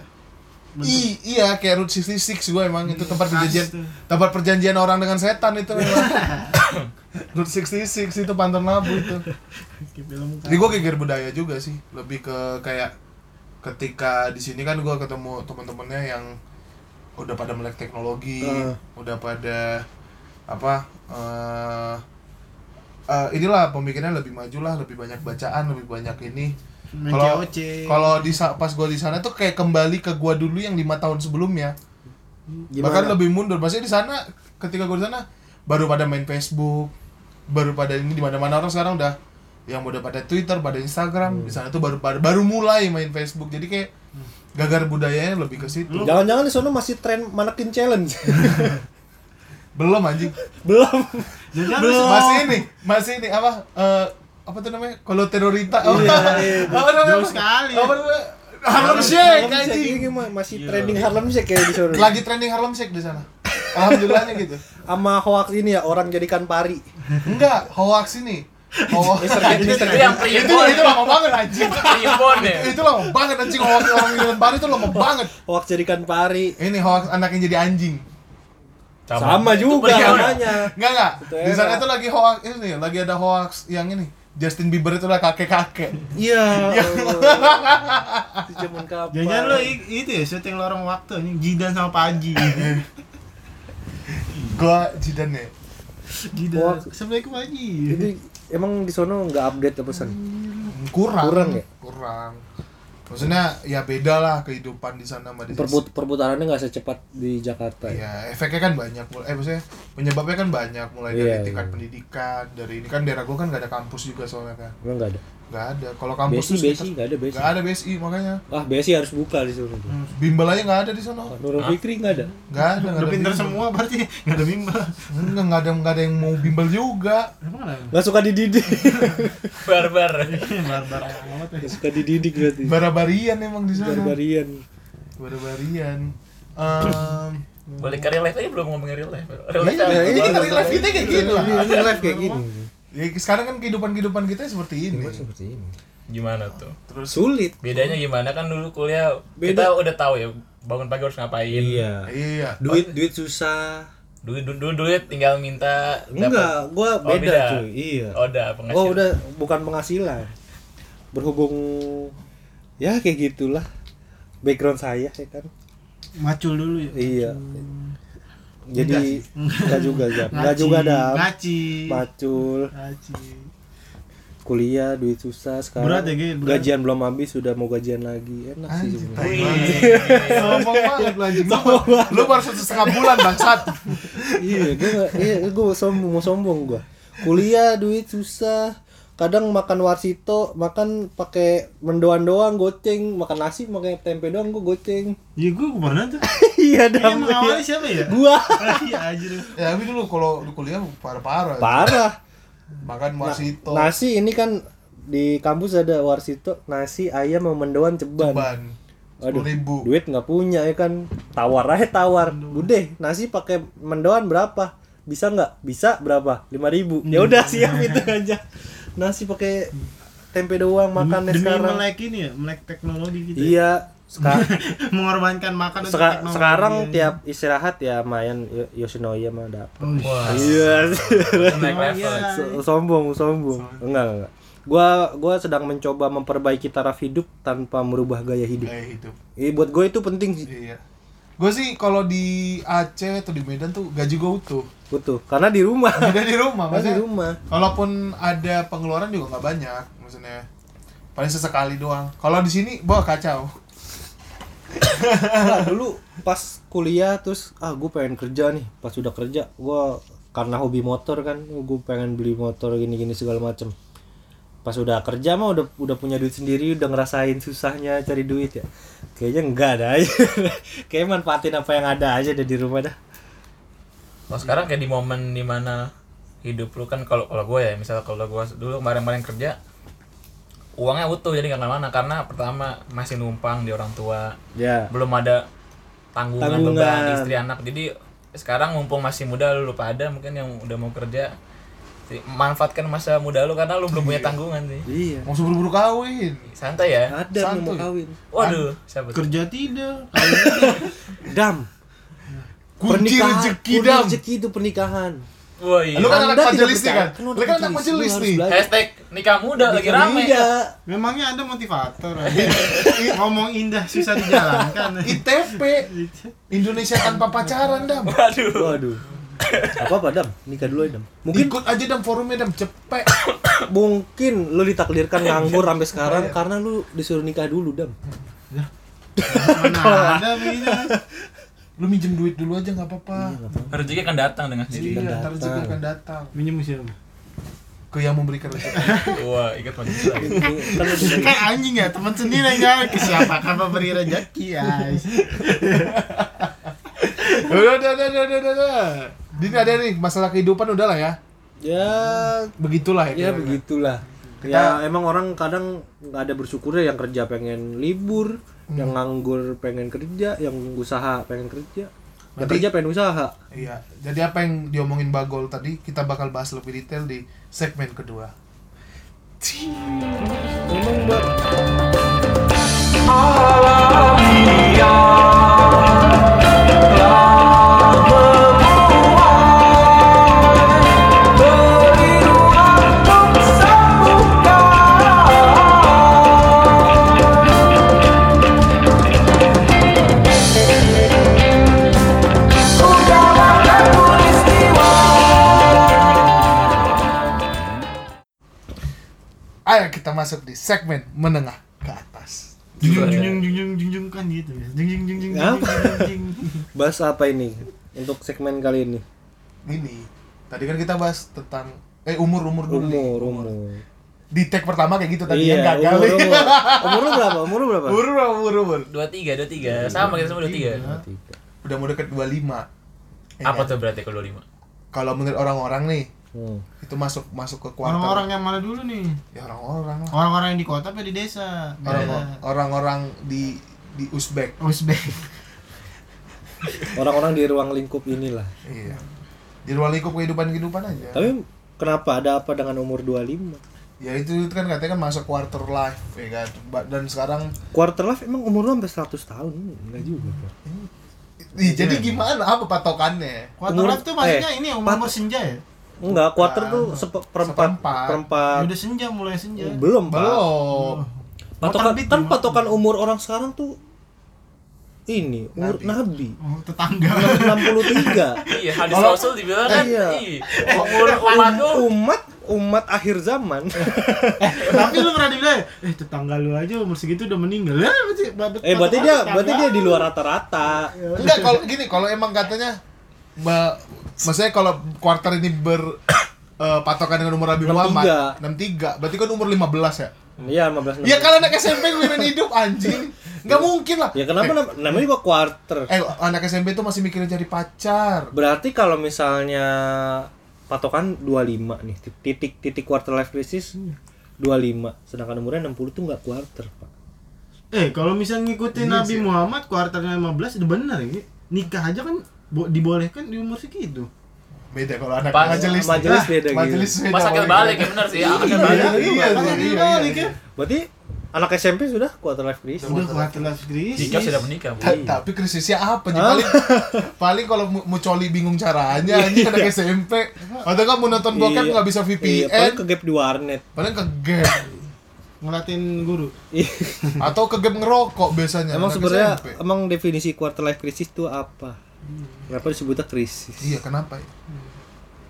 Speaker 3: I, iya kayak Route 66 gue emang itu tempat
Speaker 5: Cars
Speaker 3: perjanjian
Speaker 5: tuh.
Speaker 3: tempat perjanjian orang dengan setan itu memang. Route 66 itu Pantan Labu itu.
Speaker 5: Kayak film
Speaker 3: Jadi
Speaker 5: Cars.
Speaker 3: gue geger budaya juga sih, lebih ke kayak ketika di sini kan gue ketemu teman-temannya yang udah pada melek teknologi,
Speaker 4: Heeh.
Speaker 3: udah pada apa eh eh, inilah pemikirannya lebih maju lah, lebih banyak bacaan, lebih banyak ini.
Speaker 5: Main
Speaker 3: Kalau
Speaker 5: COC.
Speaker 3: kalau di sa- pas gue di sana tuh kayak kembali ke gue dulu yang lima tahun sebelumnya,
Speaker 4: Gimana?
Speaker 3: bahkan lebih mundur. Maksudnya di sana ketika gue di sana baru pada main Facebook, baru pada ini di mana-mana orang sekarang udah yang udah pada Twitter, pada Instagram, di sana tuh baru baru baru mulai main Facebook. Jadi kayak gagar budayanya lebih ke situ.
Speaker 5: Hmm.
Speaker 4: Jangan-jangan di sana masih tren manekin challenge.
Speaker 3: Belum anjing.
Speaker 4: Belum.
Speaker 5: Jangan
Speaker 3: Belum. Masih ini, masih ini apa eh, apa tuh namanya? Kalau terorita apa? apa namanya?
Speaker 5: Iya, Jauh sekali. Iya.
Speaker 3: Apa namanya? Harlem Shake
Speaker 4: Harlem Shake
Speaker 3: Eh, anjing.
Speaker 4: ini mah masih trending Harlem Shake kayak di sana.
Speaker 3: Lagi trending Harlem Shake di sana. Alhamdulillahnya gitu.
Speaker 4: Sama hoax ini ya orang jadikan pari.
Speaker 3: Enggak, hoax ini. Hoax.
Speaker 6: itu yang
Speaker 5: gitu.
Speaker 3: itu
Speaker 6: primbon
Speaker 3: itu lama banget anjing.
Speaker 6: primbon ya
Speaker 3: itu lama banget anjing hoax orang yang baru itu lama banget
Speaker 4: Hoax jadikan pari.
Speaker 3: ini hoax anak yang jadi anjing
Speaker 4: Sama juga
Speaker 6: primbon.
Speaker 4: namanya.
Speaker 3: enggak enggak
Speaker 4: Itu
Speaker 3: di sana
Speaker 4: enak.
Speaker 3: itu lagi hoax ini nih, lagi ada hoax yang ini Justin Bieber itu lah kakek kakek
Speaker 4: Iya. Allah. Itu zaman kapan?
Speaker 5: Jangan lo i- itu ya syuting lorong waktu anjing Jidan sama Pak Haji.
Speaker 3: gua jidan ya
Speaker 5: Jidan.
Speaker 4: Hoax.
Speaker 5: Assalamualaikum Pak Haji.
Speaker 4: Jadi emang di sono nggak update apa pesan?
Speaker 3: kurang
Speaker 4: Kurang ya?
Speaker 3: kurang maksudnya ya beda lah kehidupan di sana sama di sini
Speaker 4: Perbut perputarannya nggak secepat di Jakarta. ya?
Speaker 3: ya efeknya kan banyak mul- eh maksudnya penyebabnya kan banyak mulai dari
Speaker 4: Iya,
Speaker 3: tingkat
Speaker 4: iya.
Speaker 3: pendidikan dari ini kan daerah gua kan nggak ada kampus juga soalnya kan
Speaker 4: Emang nggak ada.
Speaker 3: nggak ada kalau kampus tuh
Speaker 4: BSI BSI
Speaker 3: sekitar-
Speaker 4: nggak ada BSI.
Speaker 3: nggak ada Hmm. BSI makanya
Speaker 4: Ah BSI harus buka di sono.
Speaker 3: bimbel aja nggak ada di sana
Speaker 4: Nurul Fikri nggak ada.
Speaker 3: nggak ada nggak
Speaker 5: Udah
Speaker 3: ada
Speaker 5: pinter
Speaker 3: bimbel.
Speaker 5: semua berarti enggak ada bimbel.
Speaker 3: Enggak, enggak ada enggak ada yang mau bimbel juga.
Speaker 5: Emang ada?
Speaker 4: Nggak suka dididik.
Speaker 6: barbar
Speaker 5: Barbar amat ya.
Speaker 4: Nggak suka dididik berarti.
Speaker 3: Barabarian emang di sana.
Speaker 4: Barbarian.
Speaker 3: Barabarian. Em,
Speaker 6: boleh ke real life aja belum ngomongin real life real life
Speaker 3: iya,
Speaker 6: apa?
Speaker 3: ini kita real life kita kayak gini lah.
Speaker 4: Ini ini live kayak gini.
Speaker 3: Ya, sekarang kan kehidupan-kehidupan kita seperti ini.
Speaker 4: Seperti ini.
Speaker 6: gimana tuh
Speaker 3: Terus
Speaker 4: Sulit.
Speaker 6: bedanya gimana kan dulu kuliah kita
Speaker 4: Beda.
Speaker 6: udah tahu ya bangun pagi harus ngapain
Speaker 4: Iya.
Speaker 3: iya.
Speaker 4: Duit duit susah.
Speaker 6: duit duit duit, duit, tinggal minta dapat.
Speaker 4: Enggak, gua
Speaker 6: Oh,
Speaker 4: beda
Speaker 6: beda.
Speaker 4: cuy. Iya.
Speaker 6: oh, udah penghasilan
Speaker 4: Oh udah bukan penghasilan. Berhubung ya kayak gitulah background saya ya kan.
Speaker 5: Macul dulu ya.
Speaker 4: Iya. Jadi enggak juga ya. Enggak juga ada
Speaker 5: Ngaci.
Speaker 4: macul,
Speaker 5: Ngaci.
Speaker 4: kuliah duit susah sekarang.
Speaker 5: Berat ya, Gil, berat.
Speaker 4: Gajian belum habis sudah mau gajian lagi. Enak sih
Speaker 3: Anjing,
Speaker 4: sebenarnya.
Speaker 3: tai banget.
Speaker 4: Iya.
Speaker 3: Sombong banget lu anjing. Lu baru satu setengah bulan bangsat.
Speaker 4: iya, gue nggak- iya, gue sombong, mau sombong gua. Kuliah duit susah. Kadang makan warsito, makan pakai mendoan doang goceng, makan nasi pakai tempe doang gue goceng.
Speaker 5: Ya gue pernah tuh.
Speaker 4: iya,
Speaker 5: Yang
Speaker 4: dam.
Speaker 5: mengawali siapa ya?
Speaker 4: Gua
Speaker 5: Ah, Iya anjir.
Speaker 3: Ya, tapi dulu kalau di kuliah parah-parah.
Speaker 4: parah.
Speaker 3: Makan
Speaker 4: Na-
Speaker 3: warsito.
Speaker 4: nasi ini kan di kampus ada warsito nasi ayam sama mendoan ceban.
Speaker 3: ban
Speaker 4: Aduh,
Speaker 3: sepuluh ribu
Speaker 4: duit nggak punya ya kan. Tawar aja tawar. Bude, nasi pakai mendoan berapa? Bisa nggak? Bisa berapa? 5000 ribu. Ya udah
Speaker 5: Hmm.
Speaker 4: siap itu aja. Nasi pakai tempe doang makannya
Speaker 5: demi
Speaker 4: sekarang.
Speaker 5: melek ini ya melek teknologi gitu ya.
Speaker 4: Iya, seka-
Speaker 5: mengorbankan makan untuk
Speaker 4: seka-
Speaker 5: teknologi.
Speaker 4: sekarang tiap istirahat ya main Yo- Yoshinoya mah dapat.
Speaker 5: Oh,
Speaker 6: Wah.
Speaker 4: Iya.
Speaker 6: Naik level.
Speaker 5: Iya.
Speaker 4: So- sombong sombong enggak enggak enggak. gua gua sedang mencoba memperbaiki taraf hidup tanpa merubah gaya hidup
Speaker 3: gaya hidup
Speaker 4: eh, buat gue itu penting sih
Speaker 3: iya gue sih kalau di Aceh atau di Medan tuh gaji gue utuh
Speaker 4: butuh karena di rumah
Speaker 3: udah di rumah
Speaker 4: karena di
Speaker 3: maksudnya
Speaker 4: rumah
Speaker 3: Kalaupun ada pengeluaran juga nggak banyak, maksudnya paling sesekali doang. Kalau di sini, wah kacau.
Speaker 4: Nah, dulu pas kuliah terus ah gue pengen kerja nih pas udah kerja gua karena hobi motor kan gue pengen beli motor gini gini segala macem pas udah kerja mah udah udah punya duit sendiri udah ngerasain susahnya cari duit ya kayaknya enggak ada aja kayak manfaatin apa yang ada aja deh di rumah dah
Speaker 6: Kalau sekarang kayak di momen dimana hidup lu kan kalau kalau gue ya misalnya kalau gue dulu kemarin-kemarin kerja uangnya utuh jadi nggak kemana-mana karena pertama masih numpang di orang tua
Speaker 4: ya
Speaker 6: belum ada tanggungan,
Speaker 4: Tanggungan.
Speaker 6: beban istri anak jadi sekarang mumpung masih muda lu lupa ada mungkin yang udah mau kerja Jadi, manfaatkan masa muda lu karena lu belum punya tanggungan sih
Speaker 4: iya
Speaker 3: Mau buru-buru kawin.
Speaker 6: santai ya
Speaker 4: ada yang mau
Speaker 3: Santuy.
Speaker 4: kawin
Speaker 6: waduh siapa tuh?
Speaker 5: kerja tidak
Speaker 4: dam
Speaker 3: Kunci rezeki
Speaker 4: kunci
Speaker 3: dam.
Speaker 4: rezeki itu pernikahan
Speaker 6: wah iya
Speaker 3: Lu kan anak
Speaker 4: Anda tidak
Speaker 3: majelis nih kan?
Speaker 4: percaya. Kan lu
Speaker 3: Lu kan anak
Speaker 4: majelis,
Speaker 3: majelis
Speaker 4: lu harus
Speaker 3: nih.
Speaker 4: belajar.
Speaker 6: hashtag nikah muda lagi rame
Speaker 4: Iya.
Speaker 5: memangnya ada motivator ngomong indah susah dijalankan
Speaker 3: ITP Indonesia tanpa pacaran dam.
Speaker 6: waduh
Speaker 4: waduh apa apa dam nikah dulu aja dam mungkin
Speaker 3: Ikut aja dam forumnya dam cepet.
Speaker 4: mungkin lu ditakdirkan nganggur sampai sekarang
Speaker 3: Iya.
Speaker 4: karena lu disuruh nikah dulu dam
Speaker 5: mana ada begitu kan?
Speaker 3: Lu minjem duit dulu aja nggak apa-apa.
Speaker 6: rezeki akan datang dengan
Speaker 3: Iya,
Speaker 6: sendiri
Speaker 3: ntar
Speaker 4: datang.
Speaker 3: rezeki akan datang.
Speaker 5: minjem siapa
Speaker 3: Ke yang memberikan rezeki.
Speaker 6: Iya. wah ikut majelis lagi
Speaker 4: Kan lu disuruh-
Speaker 5: kayak anjing ya teman sendiri kan ke siapa kan pemberi rezeki ya
Speaker 3: udah, udah, udah, udah, udah, udah. Ini ada nih masalah kehidupan udahlah ya.
Speaker 4: ya
Speaker 3: Begitulah ya.
Speaker 4: ya
Speaker 3: kira-kira.
Speaker 4: begitulah
Speaker 3: Kita-
Speaker 4: ya emang orang kadang nggak ada bersyukurnya yang kerja pengen libur yang
Speaker 3: Hmm.
Speaker 4: nganggur pengen kerja yang usaha pengen kerja yang
Speaker 3: Nanti-
Speaker 4: kerja pengen usaha
Speaker 3: Iya, jadi apa yang diomongin Bagol tadi kita bakal bahas lebih detail di segmen kedua. Ayo kita masuk di segmen menengah ke atas.
Speaker 5: junjung junjung junjung junjung kan gitu ya junjung junjung junjung
Speaker 4: Apa?
Speaker 5: junjung
Speaker 4: bahas apa ini untuk segmen kali ini
Speaker 3: Ini tadi kan kita bahas tentang eh umur umur dulu nih.
Speaker 4: umur umur
Speaker 3: Di tag pertama kayak gitu tadi
Speaker 4: iya
Speaker 3: kan gagal.
Speaker 4: umur umur umur lu berapa umur lu berapa
Speaker 3: Umur umur umur umur.
Speaker 6: dua tiga dua tiga sama kita semua dua tiga
Speaker 4: Tiga.
Speaker 3: Udah mau deket 25. Ya
Speaker 6: apa
Speaker 3: kan?
Speaker 6: tuh berarti kalau lima
Speaker 3: Kalau menurut orang-orang nih
Speaker 4: Hmm.
Speaker 3: itu masuk masuk ke kuartal.
Speaker 5: orang-orang yang mana dulu nih
Speaker 3: ya orang-orang lah.
Speaker 5: orang-orang yang di kota apa di desa Iya.
Speaker 3: Orang-
Speaker 5: Beda.
Speaker 3: Orang-orang di di Uzbek.
Speaker 5: Uzbek
Speaker 4: orang-orang di ruang lingkup inilah
Speaker 3: Iya. Di ruang lingkup kehidupan kehidupan aja.
Speaker 4: tapi kenapa ada apa dengan umur 25
Speaker 3: ya itu kan katanya kan masuk quarter life ya kan Ba- dan sekarang
Speaker 4: quarter life emang umur lu sampai 100 tahun Hmm, enggak juga Pak. Iya,
Speaker 3: Ih, jadi gimana apa patokannya
Speaker 5: Quarter
Speaker 4: Umur-
Speaker 5: life tuh maksudnya
Speaker 4: eh,
Speaker 5: ini umur
Speaker 4: pat-
Speaker 5: umur senja ya?
Speaker 4: enggak quarter tuh sepe- perempat
Speaker 3: Seperempat.
Speaker 5: Ya
Speaker 4: perempat
Speaker 5: udah senja mulai senja.
Speaker 4: belum pak
Speaker 3: belum
Speaker 4: patokan
Speaker 5: terbit
Speaker 4: kan patokan umur orang sekarang tuh ini umur nabi,
Speaker 5: Oh, tetangga.
Speaker 4: 63
Speaker 6: iya hadis rasul dibilang kan
Speaker 4: Iya.
Speaker 6: iya umur umatku
Speaker 4: umat umat akhir zaman
Speaker 5: Tapi lu pernah dibilang, eh tetangga lu aja umur segitu udah meninggal. Ya, berarti,
Speaker 4: eh berarti dia berarti dia di luar rata-rata
Speaker 3: enggak kalau gini kalau emang katanya ma- maksudnya kalau quarter ini ber eh, patokan dengan umur Nabi Muhammad 63 berarti kan umur 15 ya
Speaker 4: iya 15
Speaker 3: ya kalau anak SMP mikirin hidup anjing nggak mungkin lah
Speaker 4: ya kenapa nam- namanya juga quarter
Speaker 3: eh anak SMP tuh masih mikirin cari pacar
Speaker 4: Berarti kalau misalnya patokan 25 nih, titik-titik quarter life crisis 25 25 sedangkan umurnya 60 tuh nggak quarter pak
Speaker 5: Eh, kalau misal ngikutin
Speaker 4: Iya
Speaker 5: Nabi Muhammad kuartalnya 15 udah bener ya. Nikah aja kan bo- dibolehkan di umur segitu.
Speaker 3: Beda kalau anak
Speaker 6: Pas-
Speaker 3: majelis.
Speaker 4: majelis beda gitu.
Speaker 3: Majelis beda.
Speaker 6: Pas sakit balik ya bener sih.
Speaker 3: Iya,
Speaker 6: Akan
Speaker 3: iya,
Speaker 6: balik.
Speaker 3: iya,
Speaker 5: Makanya
Speaker 3: iya,
Speaker 5: dibalik
Speaker 3: iya.
Speaker 5: ya.
Speaker 4: berarti anak SMP sudah quarter life crisis
Speaker 5: Udah kuartal krisis.
Speaker 6: Jika sudah menikah, Bu.
Speaker 4: Iya.
Speaker 3: Ta- Tapi krisisnya apa? Ji? Paling paling kalau mu- mucoli bingung caranya, anjing anak SMP. Padahal kan mau nonton bokep
Speaker 4: Iya.
Speaker 3: nggak bisa E?
Speaker 4: Iya, paling
Speaker 3: VPN,
Speaker 4: ke gap di warnet
Speaker 3: paling ke game
Speaker 5: Ngelatin guru.
Speaker 4: Iya.
Speaker 3: atau ke game ngerokok biasanya.
Speaker 4: emang
Speaker 3: anak
Speaker 4: sebenarnya
Speaker 3: SMP.
Speaker 4: emang definisi quarter life crisis itu apa kenapa disebutnya krisis
Speaker 3: Iya, kenapa ya?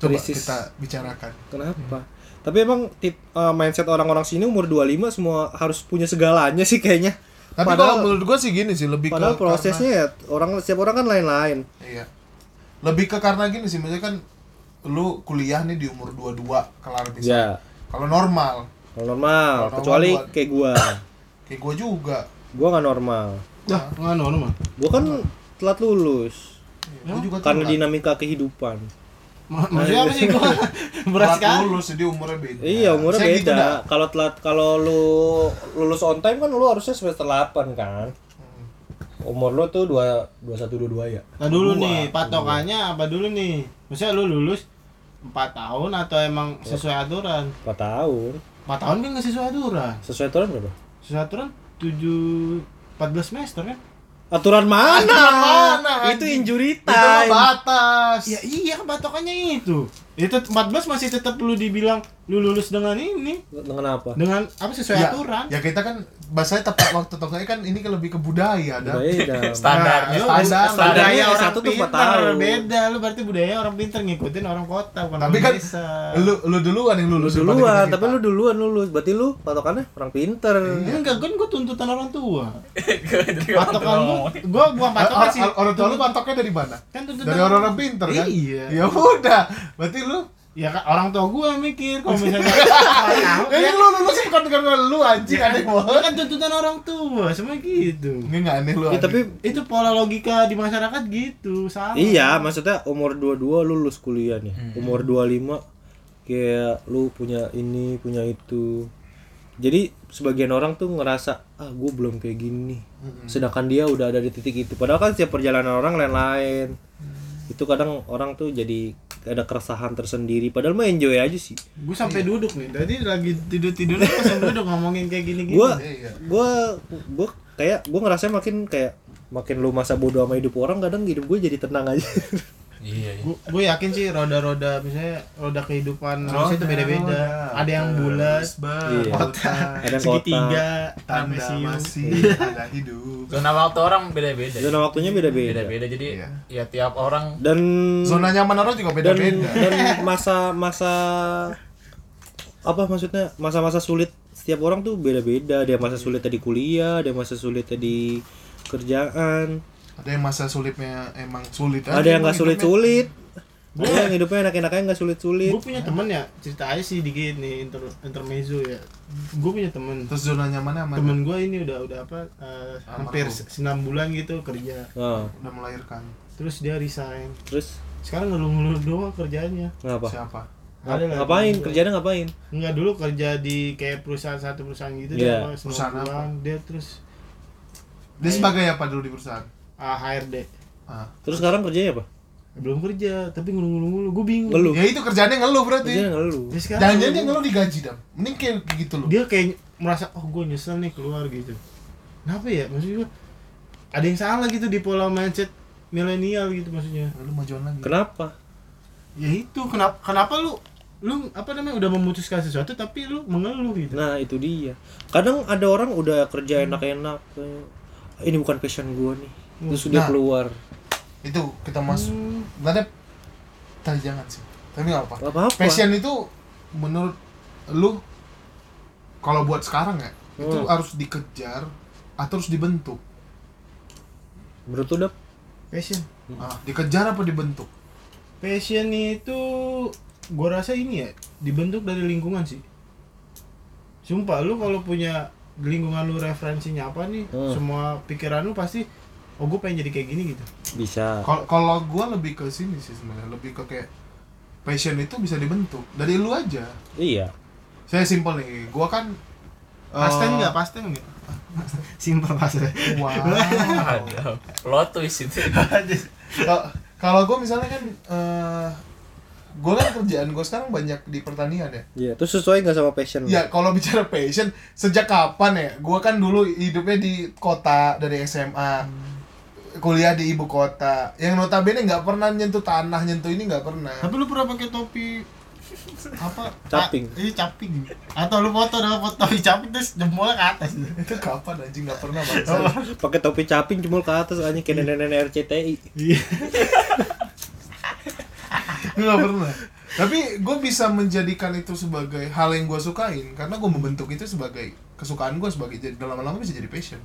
Speaker 3: Coba
Speaker 4: Krisis.
Speaker 3: kita bicarakan.
Speaker 4: Kenapa? Tapi emang tip, eh, mindset orang-orang sini umur 25 semua harus punya segalanya sih kayaknya.
Speaker 3: Tapi kalau
Speaker 4: padahal
Speaker 3: menurut gua sih gini sih, lebih
Speaker 4: padahal
Speaker 3: ke
Speaker 4: prosesnya
Speaker 3: karena-
Speaker 4: ya orang setiap orang kan lain-lain.
Speaker 3: Iya. Lebih ke karena gini sih, maksudnya kan lu kuliah nih di umur 22 kelar bisa.
Speaker 4: Iya.
Speaker 3: Kalau normal,
Speaker 4: Kalau normal,
Speaker 3: Kalau
Speaker 4: kecuali
Speaker 3: normal buat-
Speaker 4: kayak gua.
Speaker 3: kayak gua juga.
Speaker 4: gua nggak normal.
Speaker 5: Dah, enggak normal.
Speaker 4: Gua kan telat lulus
Speaker 3: Iya, Gua juga Iya.
Speaker 4: karena
Speaker 3: telat.
Speaker 4: dinamika kehidupan.
Speaker 5: Ma- Maksudnya apa sih gua? kan? Berat
Speaker 3: Telat
Speaker 5: sekali.
Speaker 3: lulus jadi umurnya beda.
Speaker 4: Iya, umurnya
Speaker 3: Saya gitu
Speaker 4: beda.
Speaker 3: dah.
Speaker 4: kalau telat kalau lu lulus on time kan lu harusnya semester 8 kan.
Speaker 3: Hmm.
Speaker 4: Umur lu tuh 2 21 22 ya.
Speaker 5: Nah dulu nih, patokannya apa dulu nih? Maksudnya lu lulus 4 tahun atau emang
Speaker 4: Iya.
Speaker 5: sesuai aturan?
Speaker 4: 4 tahun.
Speaker 5: 4 tahun kan nggak sesuai aturan.
Speaker 4: Sesuai aturan berapa?
Speaker 5: Sesuai aturan 7 14 semester kan?
Speaker 4: Aturan mana?
Speaker 3: Aturan mana,
Speaker 4: Itu
Speaker 3: anjing?
Speaker 4: injury
Speaker 3: Itu mah
Speaker 4: time.
Speaker 3: batas.
Speaker 5: Ya iya kan patokannya itu. Ya, Itu 14 masih tetap lu dibilang lu lulus dengan ini,
Speaker 4: Dengan apa?
Speaker 5: dengan apa sesuai
Speaker 3: Ya,
Speaker 5: aturan.
Speaker 3: ya kita kan bahasanya tepat waktu tengahnya kan ini kan lebih ke budaya dah.
Speaker 4: Beda.
Speaker 6: Standarnya.
Speaker 3: Nah, standar.
Speaker 4: Budaya
Speaker 5: budaya orang
Speaker 4: satu tuh
Speaker 5: pinter
Speaker 4: empat tahun.
Speaker 5: beda lu berarti budaya orang pinter ngikutin orang kota bukan
Speaker 3: Tapi
Speaker 5: orang
Speaker 3: kan
Speaker 5: desa.
Speaker 3: lu lu duluan yang
Speaker 4: Lu
Speaker 3: lulus
Speaker 4: duluan,
Speaker 3: daripada
Speaker 4: tapi lu
Speaker 3: kita-kita.
Speaker 4: duluan lulus. Berarti lu patokannya orang pinter.
Speaker 5: enggak kan gua tuntutan orang tua
Speaker 6: Jadi orang tua
Speaker 5: patokan gua
Speaker 6: ngomong.
Speaker 5: gua bukan patokan
Speaker 3: Orang-
Speaker 5: kan sih
Speaker 3: orang- orang tua lu pantoknya dari mana?
Speaker 5: Kan tuntutan
Speaker 3: dari orang-orang pinter kan?
Speaker 5: Iya.
Speaker 3: Ya udah, berarti lu
Speaker 5: ya kan orang tua gua yang mikir kalau misalnya Ya, kan?
Speaker 3: Jadi eh, lu lulus bukan karena lu anjing aneh
Speaker 5: Gua
Speaker 3: banget.
Speaker 5: kan tuntutan orang tua semua gitu
Speaker 3: Enggak enggak aneh lu.
Speaker 4: Ya,
Speaker 3: aneh.
Speaker 4: tapi
Speaker 5: itu pola logika di masyarakat gitu salah
Speaker 4: iya, maksudnya umur 22 lu lulus kuliah nih. Umur 25 kayak lu punya ini, punya itu. Jadi sebagian orang tuh ngerasa ah gue belum kayak gini. Sedangkan dia udah ada di titik itu. Padahal kan setiap perjalanan orang lain-lain. Itu kadang orang tuh jadi ada keresahan tersendiri. Padahal mah enjoy aja sih.
Speaker 5: gua sampai duduk nih tadi lagi tidur tidurnya pas sampai duduk ngomongin kayak gini gini
Speaker 4: gua
Speaker 3: Iya.
Speaker 4: gua gua kayak gua ngerasa makin kayak makin lu masa bodoh sama hidup orang kadang hidup gue jadi tenang aja
Speaker 6: Iya, iya.
Speaker 5: gue yakin sih roda-roda misalnya roda kehidupan manusia itu beda-beda
Speaker 3: roda,
Speaker 5: ada yang bulat
Speaker 4: Iya.
Speaker 3: Kota
Speaker 4: ada yang kota
Speaker 5: segitiga
Speaker 3: tanda
Speaker 5: amesium. Iya.
Speaker 3: masih ada hidup.
Speaker 6: Zona waktu orang beda-beda.
Speaker 4: zona waktunya beda-beda
Speaker 6: Beda-beda. Jadi
Speaker 3: Iya.
Speaker 6: ya tiap orang
Speaker 4: dan
Speaker 3: Zona nyaman orang juga
Speaker 4: dan
Speaker 3: beda-beda.
Speaker 4: dan masa masa apa maksudnya masa-masa sulit setiap orang tuh beda-beda ada yang masa sulit tadi kuliah ada yang masa sulit tadi kerjaan
Speaker 3: Ada yang masa sulitnya emang sulit
Speaker 4: ada yang nggak sulit-sulit ada yang hidupnya enak-enaknya nggak sulit-sulit
Speaker 5: gue punya temen ya cerita aja sih dikit nih inter intermezzo ya gue punya temen
Speaker 3: Terus zona nyamannya mana?
Speaker 5: temen gue ini udah udah apa eh, hampir
Speaker 3: Almarhum.
Speaker 5: se- enam bulan gitu kerja
Speaker 4: nah,
Speaker 3: udah melahirkan.
Speaker 5: terus dia resign
Speaker 4: terus
Speaker 5: sekarang ngeluh-ngeluh doang kerjaannya
Speaker 4: ngapa
Speaker 3: Siapa?
Speaker 5: Ada lah
Speaker 4: ngapain
Speaker 5: temen gua.
Speaker 4: kerjanya ngapain
Speaker 5: Enggak dulu kerja di kayak perusahaan satu perusahaan gitu
Speaker 4: Iya.
Speaker 5: dia sama
Speaker 3: Perusahaan apa?
Speaker 5: pulang, dia terus
Speaker 3: Dia sebagai apa dulu di perusahaan?
Speaker 5: ah, HRD
Speaker 3: Ah.
Speaker 4: terus sekarang kerjanya apa
Speaker 5: belum kerja tapi ngeluh-ngeluh gue bingung
Speaker 4: ngeluh
Speaker 3: Ya itu kerjaannya ngeluh berarti.
Speaker 4: kerjanya ngeluh
Speaker 5: Dia sekarang
Speaker 3: Jangan-jangan dia
Speaker 5: ngeluh.
Speaker 3: ngeluh digaji dam. Mending kayak gitu loh.
Speaker 5: dia kayak merasa oh gue nyesel nih keluar gitu kenapa ya maksud gue ada yang salah gitu di pola mindset milenial gitu maksudnya
Speaker 3: Lu majuan lagi.
Speaker 4: Kenapa?
Speaker 5: ya itu kenapa kenapa lu lu apa namanya udah memutuskan sesuatu tapi lu mengeluh gitu
Speaker 4: Nah itu dia. Kadang ada orang udah kerja
Speaker 3: Hmm.
Speaker 4: enak-enak. kayak, Ini bukan passion gua nih. Terus dia
Speaker 3: Nah.
Speaker 4: keluar.
Speaker 3: Itu kita masuk.
Speaker 5: Hmm.
Speaker 3: Nggak ada tadi jangan sih. Tapi nggak apa.
Speaker 4: Gak apa-apa.
Speaker 3: Passion itu menurut lu kalau buat sekarang ya itu
Speaker 4: Hmm.
Speaker 3: harus dikejar atau harus dibentuk.
Speaker 4: Menurut lu Dap?
Speaker 5: passion
Speaker 3: Ah, dikejar apa dibentuk?
Speaker 5: passion itu gue rasa ini ya dibentuk dari lingkungan sih sumpah lu kalau punya di lingkungan lu referensinya apa nih
Speaker 4: Hmm.
Speaker 5: semua pikiran lu pasti oh gue pengen jadi kayak gini gitu
Speaker 4: Bisa.
Speaker 3: Kalau kalau gua lebih ke sini sih sebenarnya, lebih ke kayak passion itu bisa dibentuk dari lu aja.
Speaker 4: Iya.
Speaker 3: Saya simpel nih, gua kan
Speaker 5: Pasten
Speaker 3: eh,
Speaker 5: nggak? Pasten nggak? Simpel pasten.
Speaker 3: Wow.
Speaker 6: Aduh, plot twist itu.
Speaker 3: Kalau- Kalau gue misalnya kan eh gue kan kerjaan gue sekarang banyak di pertanian ya.
Speaker 4: Iya, terus sesuai nggak sama passion? lu?
Speaker 3: Ya kalau bicara passion, sejak kapan ya? Gue kan dulu hidupnya di kota dari SMA, kuliah di ibu kota. Yang notabene nggak pernah nyentuh tanah, nyentuh ini nggak pernah.
Speaker 5: Tapi lu pernah pakai topi apa?
Speaker 4: Caping.
Speaker 5: Ah, Iya caping. Atau lu foto dengan foto topi caping terus jempolnya ke atas.
Speaker 3: Itu kapan anjing nggak pernah bangsa.
Speaker 4: Pakai topi caping jemur ke atas anjing kayak nenek-nenek RCTI.
Speaker 5: Iya.
Speaker 3: nggak pernah. Tapi gue bisa menjadikan itu sebagai hal yang gue sukain karena gue membentuk itu sebagai kesukaan gue sebagai jadi dalam lama bisa jadi passion.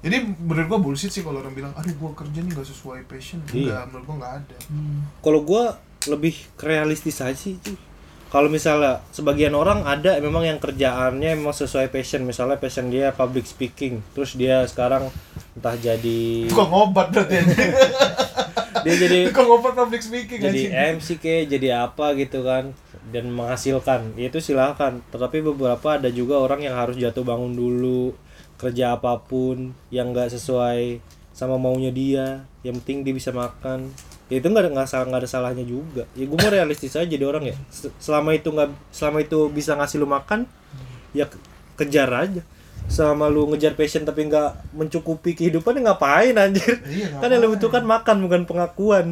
Speaker 3: Jadi menurut gue bullshit sih kalau orang bilang, aduh gue kerja nih gak sesuai passion.
Speaker 4: Iya.
Speaker 3: Enggak, menurut gue nggak ada.
Speaker 4: Kalau gua lebih realistis aja sih. cuy. Kalau misalnya sebagian orang ada memang yang kerjaannya memang sesuai passion, misalnya passion dia public speaking, terus dia sekarang entah jadi
Speaker 3: Tukang obat berarti anjing.
Speaker 4: dia jadi
Speaker 3: Tukang obat public speaking anjing.
Speaker 4: jadi eh, MC ke jadi apa gitu kan dan menghasilkan Ya itu silahkan tetapi beberapa ada juga orang yang harus jatuh bangun dulu kerja apapun yang nggak sesuai sama maunya dia yang penting dia bisa makan ya itu nggak ada nggak salah nggak ada salahnya juga ya gue mau realistis aja jadi orang ya Se- selama itu nggak selama itu bisa ngasih lu makan ya ke- kejar aja selama lu ngejar passion tapi nggak mencukupi kehidupan ya ngapain anjir
Speaker 3: Iya,
Speaker 4: kan yang lu butuhkan makan bukan pengakuan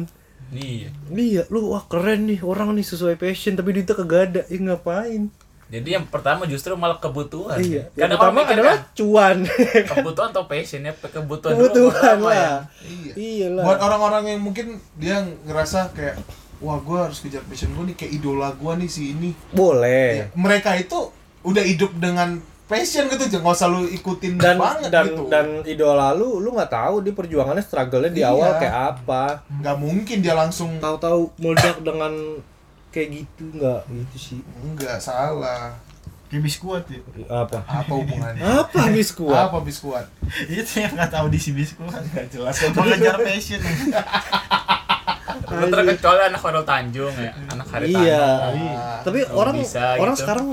Speaker 6: Iya.
Speaker 4: Iya, lu wah keren nih orang nih sesuai passion tapi duitnya kagak ada. Ih ngapain?
Speaker 6: Jadi yang pertama justru malah kebutuhan.
Speaker 4: iya. Yang
Speaker 6: Kadang
Speaker 4: pertama
Speaker 6: orang mikir
Speaker 4: adalah
Speaker 6: kan,
Speaker 4: cuan.
Speaker 6: kebutuhan atau passion ya kebutuhan, dulu
Speaker 4: Kebutuhan
Speaker 6: apa ya?
Speaker 4: lah.
Speaker 3: Iya.
Speaker 4: Iya lah.
Speaker 3: Buat orang-orang yang mungkin dia ngerasa kayak wah gue harus kejar passion gue nih kayak idola gue nih si ini. Ya,
Speaker 4: Boleh.
Speaker 3: mereka itu udah hidup dengan passion gitu jangan nggak usah lu ikutin
Speaker 4: Dan
Speaker 3: banget
Speaker 4: dan
Speaker 3: gitu.
Speaker 4: dan idola lu lu nggak tahu dia perjuangannya struggle-nya di
Speaker 3: Iya.
Speaker 4: awal kayak apa.
Speaker 3: nggak mungkin dia langsung
Speaker 4: Tahu-tahu meledak dengan kayak gitu nggak gitu sih.
Speaker 3: nggak salah
Speaker 5: Kayak biskuit ya.
Speaker 4: Apa?
Speaker 3: apa hubungannya
Speaker 4: Apa biskuat?
Speaker 3: apa biskuat
Speaker 5: Itu yang nggak tahu di si biskuit. Gak jelas. Mengejar passion. ya.
Speaker 6: Lu terkecuali anak Hotel Tanjung ya, anak Hari
Speaker 4: Iya.
Speaker 3: Ah,
Speaker 4: Tapi
Speaker 6: kalau
Speaker 4: orang
Speaker 6: bisa
Speaker 4: orang
Speaker 6: gitu.
Speaker 4: sekarang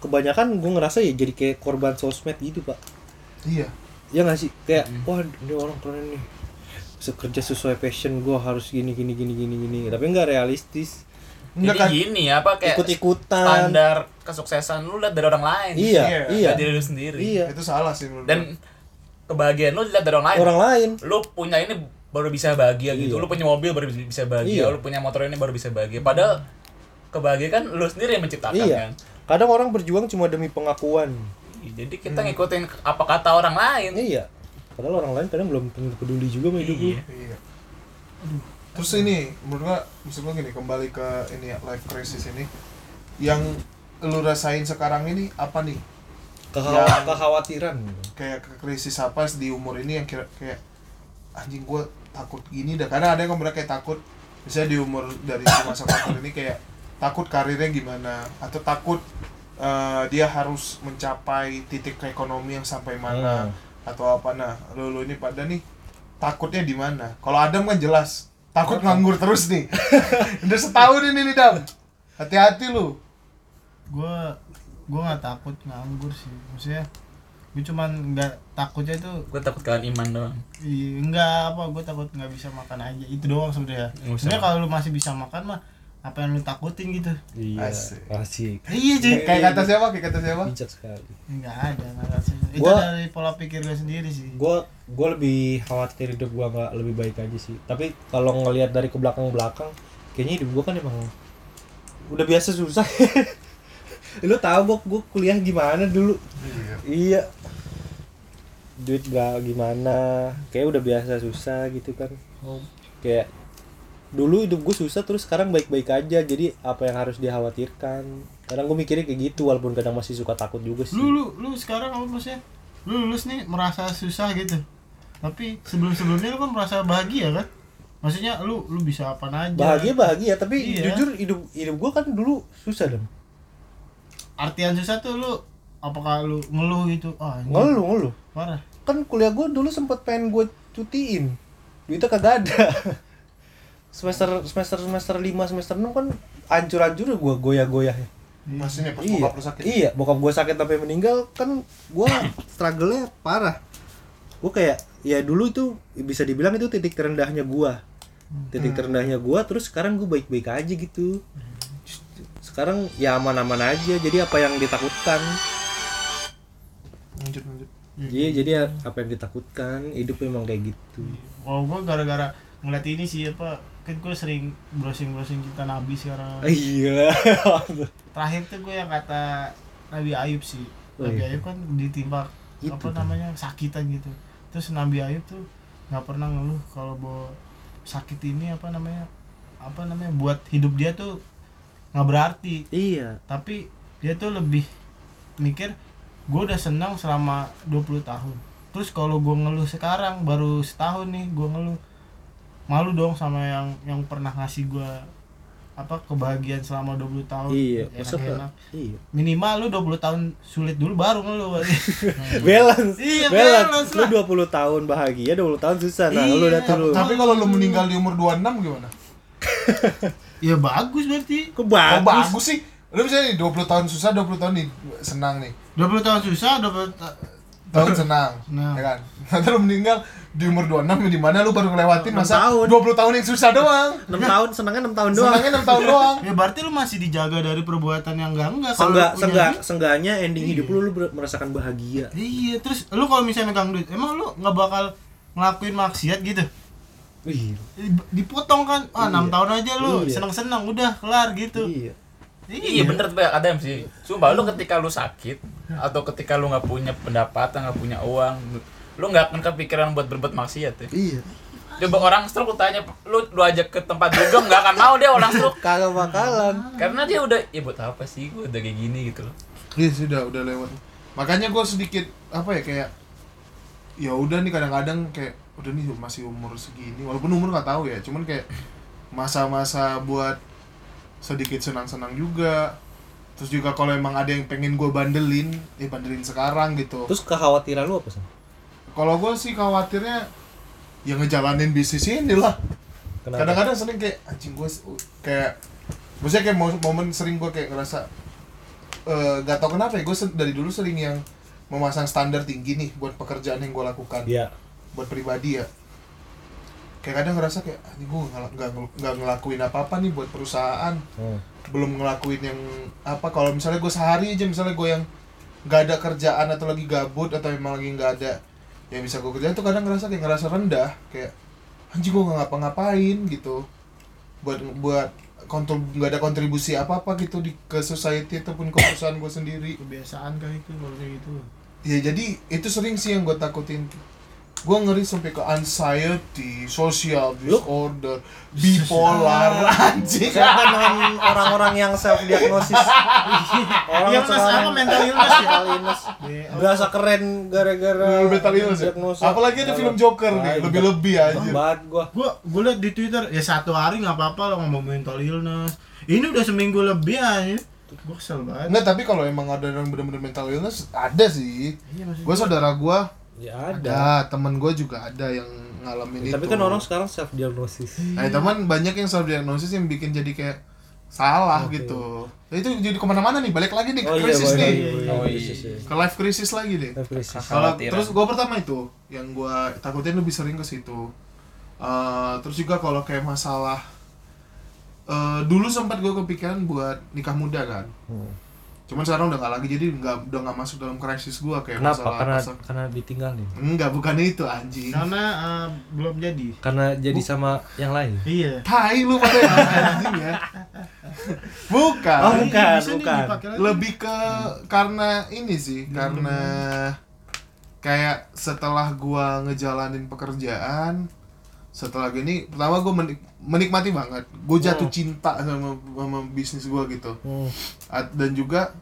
Speaker 4: kebanyakan gue ngerasa ya jadi kayak korban sosmed gitu, Pak.
Speaker 3: iya
Speaker 4: ya nggak sih kayak wah ini orang keren nih bisa kerja sesuai passion gue harus gini gini gini gini gini tapi nggak realistis
Speaker 6: Jadi
Speaker 3: nggak kan
Speaker 6: gini ya, apa kayak
Speaker 4: ikut ikutan
Speaker 6: standar kesuksesan lu lihat dari orang lain.
Speaker 4: iya
Speaker 3: Iya.
Speaker 4: iya
Speaker 6: Nggak dari lu sendiri.
Speaker 4: iya
Speaker 3: itu salah sih menurut
Speaker 6: Dan kebahagiaan lu dilihat dari orang lain.
Speaker 4: orang lain
Speaker 6: Lu punya ini baru bisa bahagia gitu.
Speaker 4: Iya.
Speaker 6: Lu punya mobil baru bisa bahagia,
Speaker 4: Iya.
Speaker 6: lu punya motor ini baru bisa bahagia. Padahal kebahagiaan kan lu sendiri yang menciptakan kan. Iya,
Speaker 4: iya kadang orang berjuang cuma demi pengakuan
Speaker 6: Jadi kita ngikutin apa kata orang lain.
Speaker 4: Hmm. iya padahal orang lain kadang belum tentu peduli juga sama hidup lu.
Speaker 6: Iya.
Speaker 3: gue. iya Aduh. terus ini menurut gua maksud gua gini kembali ke ini ya life crisis ini yang lu rasain sekarang ini apa nih
Speaker 4: Kekhawa-
Speaker 3: Yang-
Speaker 4: kekhawatiran
Speaker 3: kayak ke- krisis apa di umur ini yang kira kayak anjing gue takut gini dah karena ada yang mereka kayak takut misalnya di umur dari si masa kantor ini kayak takut karirnya gimana atau takut eh, dia harus mencapai titik ekonomi yang sampai mana
Speaker 4: Hmm.
Speaker 3: atau apa nah lo lo ini pada nih takutnya di mana kalau Adam kan jelas takut nganggur terus nih udah setahun ini nih Dam hati-hati lu
Speaker 5: gue gue nggak takut nganggur sih maksudnya gue cuman nggak takutnya itu
Speaker 6: Gue takut kalian iman doang.
Speaker 5: Iya, enggak apa gue takut nggak bisa makan aja itu doang sebenarnya
Speaker 6: Nggak usah.
Speaker 5: sebenarnya kalau lu masih bisa makan mah apa yang lu takutin gitu
Speaker 4: iya
Speaker 3: Asik.
Speaker 4: asik
Speaker 5: iya cuy
Speaker 3: kayak kata siapa kayak kata siapa
Speaker 4: bijak sekali
Speaker 5: nggak ada nggak ada. itu
Speaker 4: Gua-
Speaker 5: dari pola pikir gue sendiri sih
Speaker 4: gue gue lebih khawatir hidup gue nggak lebih baik aja sih tapi kalau ngelihat dari ke belakang belakang kayaknya hidup gue kan emang udah biasa susah lu tahu gue kuliah gimana dulu iya duit gak gimana kayak udah biasa susah gitu kan kayak dulu hidup gue susah terus sekarang baik-baik aja jadi apa yang harus dikhawatirkan kadang gue mikirnya kayak gitu walaupun kadang masih suka takut juga sih
Speaker 5: lu lu lu sekarang apa maksudnya lu lulus nih merasa susah gitu tapi sebelum sebelumnya lu kan merasa bahagia kan maksudnya lu lu bisa apa aja
Speaker 4: bahagia bahagia tapi
Speaker 5: Iya.
Speaker 4: jujur hidup hidup gue kan dulu susah dong
Speaker 5: artian susah tuh lu apakah lu ngeluh gitu ah anjing,
Speaker 4: ngeluh ngeluh
Speaker 5: parah
Speaker 4: kan kuliah gue dulu sempet pengen gue cutiin duitnya kagak ada semester semester semester 5 semester 6 kan ancur ancur gue goyah goyah
Speaker 3: Pastinya pas
Speaker 4: iya
Speaker 3: bokap lu sakit.
Speaker 4: iya bokap gue sakit sampai meninggal kan gue struggle-nya parah gue kayak ya dulu itu bisa dibilang itu titik terendahnya gue titik terendahnya gue terus sekarang gue baik-baik aja gitu sekarang ya aman-aman aja jadi apa yang ditakutkan
Speaker 3: Lanjut lanjut.
Speaker 4: jadi Iya, jadi apa yang ditakutkan hidup memang kayak gitu
Speaker 5: Kalau gue gara-gara ngeliat ini sih apa kan gue sering browsing-browsing kita Nabi sekarang.
Speaker 4: iya
Speaker 5: Terakhir tuh gue yang kata Nabi Ayub sih.
Speaker 4: Oh,
Speaker 5: Nabi
Speaker 4: iya.
Speaker 5: Ayub kan ditimpa
Speaker 4: Itu
Speaker 5: apa
Speaker 4: tuh.
Speaker 5: namanya sakitan gitu. Terus Nabi Ayub tuh nggak pernah ngeluh kalau bawa sakit ini apa namanya apa namanya buat hidup dia tuh nggak berarti
Speaker 4: iya
Speaker 5: tapi dia tuh lebih mikir gue udah senang selama 20 tahun terus kalau gue ngeluh sekarang baru setahun nih gue ngeluh malu dong sama yang yang pernah ngasih gue apa kebahagiaan selama 20 tahun
Speaker 4: iya masa
Speaker 5: enak-enak
Speaker 4: iya
Speaker 5: minimal lu 20 tahun sulit dulu baru ngeluh
Speaker 4: balance
Speaker 5: Iya, balance
Speaker 4: lu 20 tahun bahagia 20 tahun susah nah
Speaker 5: Iya.
Speaker 4: lu udah tuh lu
Speaker 3: Tapi kalau lu meninggal di umur 26 gimana?
Speaker 5: ya bagus berarti
Speaker 4: kok
Speaker 3: Oh,
Speaker 4: bagus
Speaker 3: bagus sih. Lu misalnya nih 20 tahun susah, 20 tahun nih senang nih.
Speaker 5: 20 tahun susah 20 ta-
Speaker 3: Tahun senang,
Speaker 5: Nah.
Speaker 3: ya kan? Nanti lu meninggal di umur 26 di mana lu baru ngelewatin
Speaker 4: Enam
Speaker 3: masa
Speaker 4: tahun.
Speaker 3: 20 tahun yang susah doang.
Speaker 4: 6 tahun senangnya 6 tahun doang
Speaker 3: Nah. Senangnya 6 tahun doang.
Speaker 5: ya berarti lu masih dijaga dari perbuatan yang enggak enggak
Speaker 4: Sengga,
Speaker 5: lu punya
Speaker 4: sengga,
Speaker 5: duit.
Speaker 4: sengganya ending
Speaker 3: Iya.
Speaker 4: hidup lu lu ber- merasakan bahagia
Speaker 5: iya terus lu kalau misalnya megang duit emang lu nggak bakal ngelakuin maksiat gitu
Speaker 3: Iya.
Speaker 4: Wih,
Speaker 5: dipotong kan ah enam
Speaker 4: Iya.
Speaker 5: tahun aja lu
Speaker 4: Iya.
Speaker 5: seneng seneng udah kelar gitu
Speaker 4: iya
Speaker 6: Iya bener tuh kata MC. Sumpah lu ketika lu sakit atau ketika lu nggak punya pendapatan, nggak punya uang, lu nggak akan kepikiran buat berbuat maksiat ya.
Speaker 4: iya
Speaker 6: Coba orang stroke lu tanya, lu lu ajak ke tempat dugem nggak akan mau dia orang stroke.
Speaker 4: kagak bakalan
Speaker 6: Karena dia udah, ya buat apa sih gue udah kayak gini gitu loh.
Speaker 3: Iya sudah udah lewat. Makanya gue sedikit apa ya kayak ya udah nih kadang-kadang kayak udah nih masih umur segini walaupun umur nggak tahu ya cuman kayak masa-masa buat sedikit senang-senang juga terus juga kalau emang ada yang pengen gue bandelin ya bandelin sekarang gitu
Speaker 4: terus kekhawatiran lu apa sih
Speaker 3: kalau gue sih khawatirnya ya ngejalanin bisnis ini lah
Speaker 4: kenapa
Speaker 3: kadang-kadang sering kayak anjing gue kayak maksudnya kayak mo- momen sering gue kayak ngerasa eh, gak tau kenapa ya gue dari dulu sering yang memasang standar tinggi nih buat pekerjaan yang gue lakukan
Speaker 4: iya
Speaker 3: buat pribadi ya kayak kadang ngerasa kayak anjing gue nggak nggak ngelakuin apa apa nih buat perusahaan
Speaker 4: Hmm.
Speaker 3: belum ngelakuin yang apa kalau misalnya gue sehari aja misalnya gue yang nggak ada kerjaan atau lagi gabut atau emang lagi nggak ada yang bisa gue kerjain tuh kadang ngerasa kayak ngerasa rendah kayak anjing gue nggak ngapa-ngapain gitu buat buat kontul nggak ada kontribusi apa apa gitu di ke society ataupun ke perusahaan gue sendiri
Speaker 5: kebiasaan kan itu kalau kayak gitu
Speaker 3: ya jadi itu sering sih yang gue takutin gue ngeri sampai ke anxiety, social disorder, bipolar, anjing.
Speaker 4: siapa dengan orang-orang yang self diagnosis orang
Speaker 5: Yang mas apa mental illness ya?
Speaker 4: mental illness berasa keren gara-gara
Speaker 3: Metal Iya. Illness ya?
Speaker 4: diagnosis.
Speaker 3: Apalagi ada
Speaker 4: Nah,
Speaker 3: film Joker
Speaker 4: Wah,
Speaker 3: nih,
Speaker 4: itu
Speaker 3: lebih-lebih aja.
Speaker 4: banget gua
Speaker 5: gua gua liat di twitter ya satu hari nggak apa apa lo ngomong mental illness ini udah seminggu lebih aja Nah, gua kesel banget
Speaker 3: Enggak, tapi kalau emang ada yang bener-bener mental illness, ada sih.
Speaker 5: Iya, maksud
Speaker 3: Gue saudara gue,
Speaker 4: ya ada,
Speaker 3: ada. Temen gue juga ada gitu. yang ngalamin itu.
Speaker 4: tapi kan orang sekarang self diagnosis
Speaker 3: Nah, teman banyak yang self diagnosis yang bikin jadi kayak salah gitu. Ya, itu jadi kemana-mana nih, balik lagi nih ke Iya, krisis
Speaker 4: Oh, iya, boleh,
Speaker 3: nih.
Speaker 4: boleh,
Speaker 6: Oh,
Speaker 4: boleh.
Speaker 6: iya.
Speaker 4: Krisis, iya.
Speaker 3: Ke life krisis lagi deh.
Speaker 4: Life crisis.
Speaker 3: Kalau
Speaker 6: Kekhawatiran.
Speaker 3: terus gue pertama itu yang gue takutin lebih sering ke situ. Eh, terus juga kalau kayak masalah eh, dulu sempat gue kepikiran buat nikah muda kan.
Speaker 4: Hmm.
Speaker 3: Cuman sekarang udah nggak lagi jadi nggak udah nggak masuk dalam krisis gue kayak
Speaker 1: Kenapa?
Speaker 3: masalah
Speaker 1: Karena
Speaker 3: masalah-
Speaker 1: karena ditinggalin.
Speaker 3: Enggak, bukan itu anjing.
Speaker 5: karena eh, belum jadi
Speaker 1: Karena jadi sama yang lain.
Speaker 5: iya
Speaker 3: Tai lu pada ya, anjing ya. Bukan.
Speaker 4: Oh, bukan,
Speaker 5: Bisa nih
Speaker 4: bukan.
Speaker 5: dipakai lagi.
Speaker 3: lebih ke karena ini sih karena kayak setelah gua ngejalanin pekerjaan setelah gini pertama gua menik- menikmati banget gua jatuh cinta sama, sama bisnis gua gitu
Speaker 4: Hmm.
Speaker 3: At- dan juga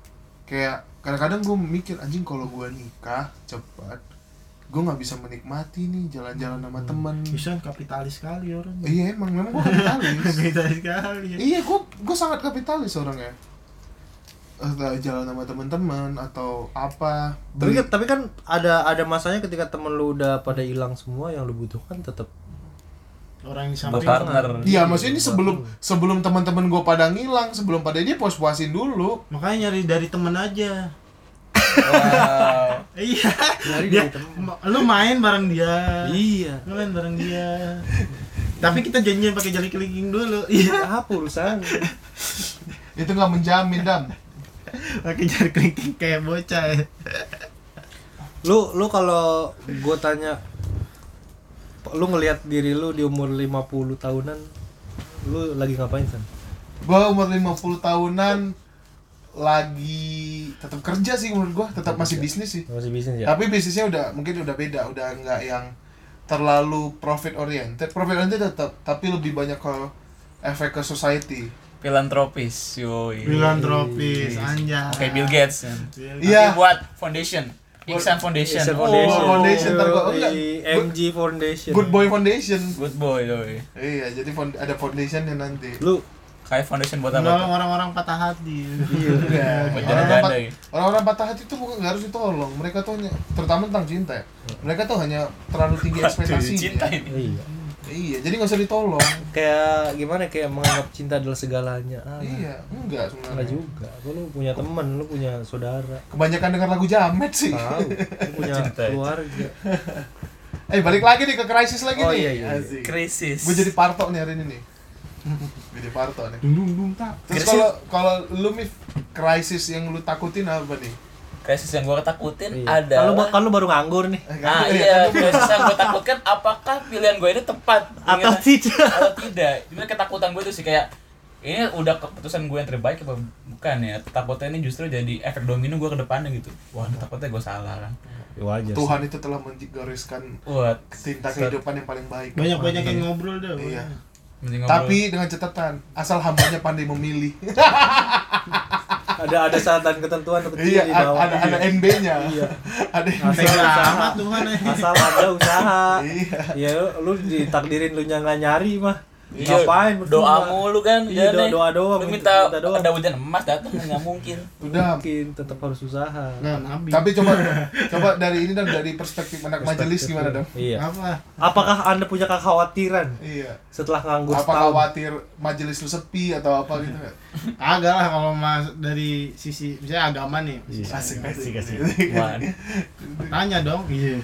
Speaker 3: kayak kadang-kadang gua mikir anjing kalau gua nikah cepat gua nggak bisa menikmati nih jalan-jalan sama temen
Speaker 5: bisa kapitalis sekali orang
Speaker 3: iya emang memang gua kapitalis
Speaker 5: kapitalis sekali
Speaker 3: Iya, gue gue sangat kapitalis orangnya. Eh, jalan sama teman-teman atau apa.
Speaker 4: tapi,
Speaker 3: Beli-
Speaker 4: kan- tapi kan ada ada masanya ketika temen lu udah pada hilang semua yang lu butuhkan tetap
Speaker 5: orang yang di samping
Speaker 6: berpartner
Speaker 3: Iya, maksudnya ini sebelum sebelum teman-teman gue pada ngilang, sebelum pada dia puas-puasin dulu.
Speaker 5: makanya nyari dari temen aja iya dia, ma- lu main bareng dia
Speaker 4: Iya.
Speaker 5: lu main bareng dia tapi kita janjian pakai jari kelingking dulu iya
Speaker 4: Apa urusan?
Speaker 3: Itu nggak menjamin dan
Speaker 5: pakai jari kelingking kayak bocah ya.
Speaker 4: lu lu kalau gue tanya lu ngelihat diri lu di umur 50 tahunan lu lagi ngapain san?
Speaker 3: Gue umur 50 tahunan lagi tetap kerja sih menurut gue, tetap masih bisnis sih.
Speaker 1: masih bisnis ya
Speaker 4: Iya.
Speaker 3: Tapi bisnisnya udah mungkin udah beda, udah nggak yang terlalu profit oriented. Profit oriented tetap, tapi lebih banyak ke efek ke society.
Speaker 6: filantropis yoi
Speaker 5: filantropis anjay
Speaker 6: Oke Bill Gates kan.
Speaker 3: Iya.
Speaker 6: Tapi buat foundation. Iksan Foundation.
Speaker 4: Iksan
Speaker 6: Oh,
Speaker 4: Foundation.
Speaker 3: Foundation, ntar gua- oh, enggak.
Speaker 4: Di MG Foundation.
Speaker 3: Iya, Good Boy Foundation.
Speaker 6: Good boy yoi.
Speaker 3: Iya, jadi fond- ada foundationnya nanti.
Speaker 4: Lu
Speaker 6: Kayak foundation buat
Speaker 5: Menolong
Speaker 6: apa?
Speaker 5: orang-orang patah hati
Speaker 3: Iya. Orang-orang
Speaker 6: Buat janda-janda
Speaker 3: pat-
Speaker 6: gitu.
Speaker 3: Orang-orang patah hati itu bukan nggak harus ditolong. Mereka tuh hanya terutama tentang cinta ya.
Speaker 4: Hmm.
Speaker 3: Mereka tuh hanya terlalu tinggi ekspektasinya.
Speaker 6: Cinta ini.
Speaker 4: iya.
Speaker 3: Iya, jadi nggak usah ditolong.
Speaker 4: kayak gimana kayak menganggap cinta adalah segalanya. Ah,
Speaker 3: iya, enggak sebenarnya.
Speaker 4: Enggak juga. Lu, lu punya temen, lu punya saudara,
Speaker 3: Kebanyakan dengar lagu jamet sih.
Speaker 4: tahu, lu punya
Speaker 6: Cinta itu.
Speaker 4: keluarga.
Speaker 3: Eh, balik lagi nih ke krisis lagi
Speaker 4: Oh,
Speaker 3: nih.
Speaker 4: iya, iya, iya.
Speaker 6: Krisis.
Speaker 3: Gue jadi parto nih hari ini nih. jadi parto nih.
Speaker 5: dung dung dung tak
Speaker 3: Terus
Speaker 6: Krisis.
Speaker 3: kalau kalau lu mif krisis yang lu takutin apa nih?
Speaker 6: krisis yang gua ketakutin
Speaker 4: Iya. Kalau
Speaker 6: adalah
Speaker 4: kalau baru nganggur nih.
Speaker 3: Eh, kan-
Speaker 6: Nah iya, krisis yang gue takutkan apakah pilihan gue ini tepat
Speaker 4: Atau
Speaker 6: Ingat-
Speaker 4: tidak.
Speaker 6: Atau tidak Itu ketakutan gue tuh sih kayak Ini udah keputusan gue yang terbaik apa bukan ya Takutnya ini justru jadi efek domino gue ke depannya gitu Wah takutnya gue salah kan
Speaker 4: Iya,
Speaker 1: wajar sih.
Speaker 3: Tuhan itu telah menggariskan
Speaker 6: Buat
Speaker 3: tinta kehidupan yang paling baik.
Speaker 5: banyak-banyak yang ngobrol dah
Speaker 3: Iya.
Speaker 6: mending ngobrol.
Speaker 3: Tapi dengan catatan, asal hambanya pandai memilih.
Speaker 4: Ada ada syarat dan ketentuan kecil
Speaker 3: iya,
Speaker 4: di
Speaker 3: a-
Speaker 4: bawah.
Speaker 3: ada Iya. ada NB-nya.
Speaker 4: Iya.
Speaker 3: ada NB.
Speaker 5: Tega amat Tuhan eh.
Speaker 4: Asal ada usaha.
Speaker 3: Iya.
Speaker 4: ya lu ditakdirin lu nyangka nyari mah.
Speaker 6: Iya,
Speaker 4: Ngapain percuma.
Speaker 6: doa mulu kan
Speaker 4: Iya, doa-
Speaker 6: jalannya.
Speaker 4: doa doang,
Speaker 6: lu
Speaker 4: minta-
Speaker 6: minta,
Speaker 4: minta doang.
Speaker 6: ada hujan emas datang nggak mungkin
Speaker 3: Udah.
Speaker 4: Mungkin tetap harus usaha.
Speaker 5: Nah, nabi.
Speaker 3: Tapi coba coba dari ini dan dari perspektif anak majelis gimana dong?
Speaker 1: iya
Speaker 5: Apa?
Speaker 4: Apakah Anda punya kekhawatiran
Speaker 3: Iya.
Speaker 4: setelah nganggur
Speaker 3: Apa
Speaker 4: setahun?
Speaker 3: khawatir majelis lu sepi atau apa gitu?
Speaker 5: Agak lah kalau mas dari sisi misalnya agama nih.
Speaker 3: Asik asik asik.
Speaker 6: Wah,
Speaker 5: Tanya dong. Iya.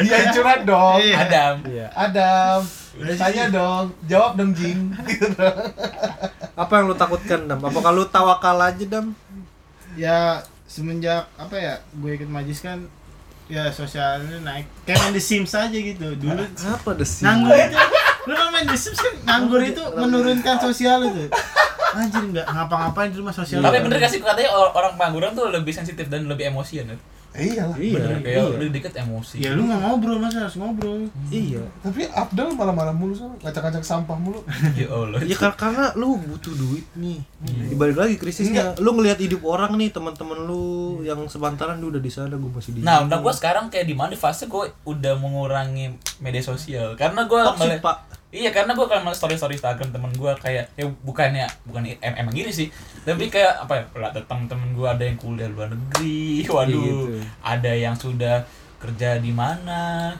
Speaker 3: Iya, curhat dong.
Speaker 5: Iya.
Speaker 6: Adam
Speaker 4: Iya.
Speaker 3: Adam, tanya dong, jawab dong Jing. Gitu dong.
Speaker 4: Apa yang lu takutkan, Dam? Apakah lu tawakal aja, Dam?
Speaker 5: Ya semenjak apa ya gue ikut majis kan ya sosialnya naik kayak main The Sims aja gitu dulu
Speaker 4: Apa desi?
Speaker 5: nganggur itu lu kan main The Sims kan nganggur itu menurunkan sosial itu anjir nggak ngapa-ngapain di rumah sosial
Speaker 6: tapi bener gak sih katanya or- orang pengangguran tuh lebih sensitif dan lebih emosian ya?
Speaker 3: Iya lah.
Speaker 4: Iya.
Speaker 6: bener kayak lu dikit emosi
Speaker 5: ya lu nggak ngobrol masa harus ngobrol
Speaker 4: Iya.
Speaker 3: Tapi Abdul malah-malah mulu sama ngacak-ngacak sampah mulu.
Speaker 6: ya Allah
Speaker 4: Ya kar- karena lu butuh duit nih. Dibalik lagi krisisnya, lu ngelihat hidup orang nih, teman-teman lu yang sepantaran lu udah di sana, gua masih di
Speaker 6: Nah,
Speaker 4: sini.
Speaker 6: udah gue sekarang kayak di mana di fase gue udah mengurangi media sosial karena gue
Speaker 4: Toxic, Pak.
Speaker 6: Iya, karena gue kalau melihat story-story Instagram temen gue kayak ya bukannya bukan em emang iri sih, tapi kayak apa ya? pernah ada Temen-temen gue ada yang kuliah luar negeri, waduh, ada yang sudah kerja di mana,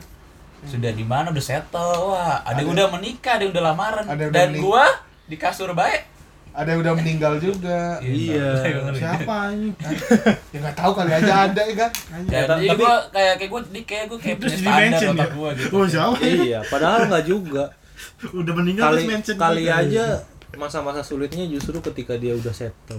Speaker 6: sudah di mana udah settle, wah, ada, yang udah menikah, ada yang udah lamaran,
Speaker 3: Ada yang udah
Speaker 6: dan
Speaker 3: menik-
Speaker 6: gue di kasur baik.
Speaker 3: Ada yang udah meninggal juga.
Speaker 4: Iya.
Speaker 5: siapa Ah, ini
Speaker 6: Nah,
Speaker 3: Ya nggak tahu kali aja ada ya kan.
Speaker 6: Jadi
Speaker 4: Tapi-
Speaker 6: gue kayak kayak gue kayak gue kayak punya
Speaker 5: terus di
Speaker 6: standar
Speaker 5: mention ya
Speaker 6: otak gue gitu.
Speaker 5: oh siapa ini?
Speaker 4: Iya, padahal nggak juga.
Speaker 5: udah meninggal
Speaker 4: Kali
Speaker 5: terus mention
Speaker 4: kali
Speaker 5: gitu.
Speaker 4: aja masa-masa sulitnya justru ketika dia udah settle.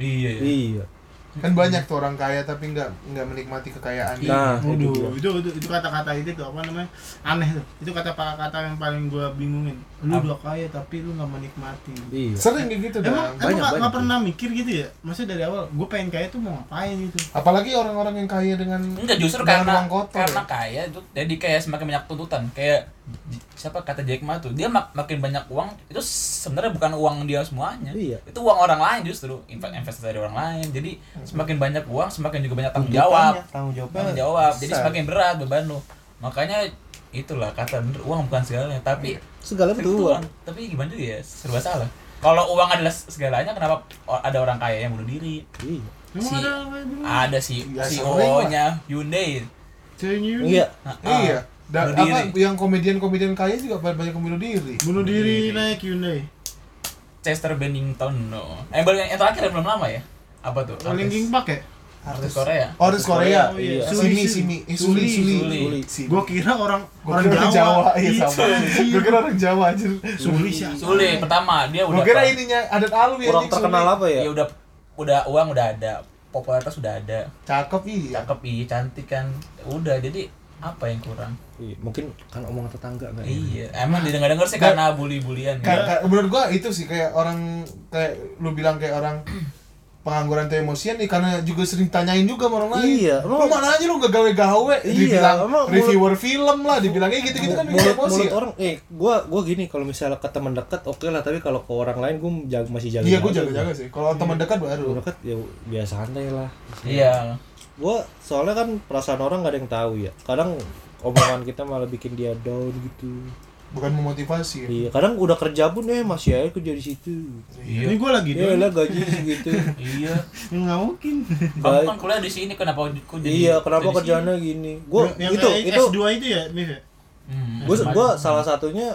Speaker 6: Iya.
Speaker 4: Iya.
Speaker 3: Kan banyak tuh orang kaya tapi nggak nggak menikmati kekayaannya.
Speaker 4: Nah, itu
Speaker 6: gitu.
Speaker 4: dia.
Speaker 5: Waduh, itu itu itu kata-kata itu tuh apa namanya? Aneh tuh. Itu kata kata yang paling gua bingungin. Lu
Speaker 6: Apa?
Speaker 5: udah kaya tapi lu nggak menikmati.
Speaker 4: Iya.
Speaker 3: Sering kayak gitu
Speaker 5: Emang
Speaker 3: dong.
Speaker 5: emang
Speaker 4: banyak,
Speaker 5: nggak- nggak
Speaker 4: banyak.
Speaker 5: pernah mikir gitu ya? Maksudnya dari awal gue pengen kaya tuh mau ngapain gitu?
Speaker 3: Apalagi orang-orang yang kaya dengan
Speaker 6: Enggak justru
Speaker 3: dengan
Speaker 6: karena
Speaker 3: uang kotor.
Speaker 6: karena kaya itu jadi kayak semakin banyak tuntutan. Kayak j- siapa kata Jack Ma tuh, dia mak- makin banyak uang itu sebenarnya bukan uang dia semuanya.
Speaker 4: Iya.
Speaker 6: Itu uang orang lain justru, inv- investasi dari orang lain. Jadi semakin banyak uang semakin juga banyak tanggung jawab.
Speaker 4: Tuntutannya, Tanggung jawabnya.
Speaker 6: Tanggung jawab. Jadi semakin berat beban lo. Makanya itulah kata bener uang bukan segalanya, tapi
Speaker 4: Segala
Speaker 6: tapi
Speaker 4: butuh
Speaker 6: itu
Speaker 4: uang.
Speaker 6: uang. Tapi gimana juga ya, serba salah. Kalau uang adalah segalanya, kenapa o- ada orang kaya yang bunuh diri?
Speaker 4: Iya.
Speaker 5: Emang
Speaker 6: Si-
Speaker 5: ada apa yang bingung?
Speaker 6: Ada si
Speaker 3: Ya, sering lah.
Speaker 6: CEO-nya Hyundai.
Speaker 5: Cengeng.
Speaker 4: Iya.
Speaker 6: Nah,
Speaker 3: Iya.
Speaker 6: ah,
Speaker 3: Dan
Speaker 1: Bunuh
Speaker 3: apa yang komedian-komedian kaya juga banyak banyak yang bunuh diri.
Speaker 5: bunuh diri naik Hyundai
Speaker 6: Chester Bennington no eh baru yang yang terakhir yang belum lama ya apa tuh
Speaker 5: Oh,
Speaker 6: artis,
Speaker 5: Linkin Park ya
Speaker 6: artis Korea
Speaker 3: Orang Korea.
Speaker 5: Oh, iya.
Speaker 3: Simi,
Speaker 5: Suli,
Speaker 3: Simi, eh, Suli, Suli,
Speaker 6: Suli.
Speaker 3: Simi.
Speaker 5: gue kira orang
Speaker 3: Gua
Speaker 5: orang
Speaker 3: kira
Speaker 5: Jawa,
Speaker 3: iya
Speaker 5: Itu.
Speaker 3: sama. Gue kira orang Jawa anjir.
Speaker 5: Suli sih
Speaker 6: Sule pertama dia
Speaker 3: Gue
Speaker 6: udah
Speaker 3: kira
Speaker 6: apa?
Speaker 3: ininya adat alwi
Speaker 4: kurang
Speaker 3: anjing, Suli.
Speaker 4: terkenal apa ya
Speaker 6: dia udah udah uang udah ada popularitas udah ada
Speaker 3: Cakep iya.
Speaker 6: cakep iya cantik kan udah jadi apa yang kurang
Speaker 4: Iya, mungkin kan omongan tetangga nggak enak.
Speaker 6: iya emang didengar dengar sih
Speaker 3: Dan-
Speaker 6: karena bully bulian
Speaker 4: Iya.
Speaker 3: Ka-
Speaker 6: ya
Speaker 3: ka- menurut gua itu sih kayak orang kayak lu bilang kayak orang pengangguran atau emosian nih karena juga sering tanyain juga sama orang lain.
Speaker 4: Iya,
Speaker 3: Lu
Speaker 4: emang-
Speaker 3: mana aja lu gak gawe-gawe
Speaker 4: Iya,
Speaker 3: dibilang
Speaker 4: emang mulut-
Speaker 3: reviewer film lah, dibilangnya gitu-gitu kan bikin
Speaker 4: mulut,
Speaker 3: emosi.
Speaker 4: mulut
Speaker 3: ya.
Speaker 4: orang eh gua gua gini kalau misalnya ke teman dekat oke lah tapi kalau ke orang lain gua jaga, masih jaga
Speaker 3: Iya, gua jaga-jaga sih. Kalau teman dekat baru.
Speaker 4: Teman dekat ya biasa santai lah
Speaker 6: iya
Speaker 4: gua soalnya kan perasaan orang gak ada yang tahu ya kadang omongan kita malah bikin dia down gitu
Speaker 3: Bukan memotivasi.
Speaker 4: iya kadang udah kerja pun eh masih aja kerja di situ
Speaker 5: ini gue lagi
Speaker 4: iya
Speaker 5: down
Speaker 4: lah gaji segitu
Speaker 6: iya
Speaker 5: Ya, nggak mungkin
Speaker 6: kamu
Speaker 4: Baik.
Speaker 6: kan kuliah di sini kenapa kok jadi
Speaker 4: iya
Speaker 6: jadi
Speaker 4: kenapa
Speaker 6: sini?
Speaker 4: kerjaannya gini gua
Speaker 5: yang
Speaker 4: Oh, itu
Speaker 5: kayak
Speaker 4: itu
Speaker 5: S2 itu ya Mif ya
Speaker 6: Hmm.
Speaker 4: gue gue salah satunya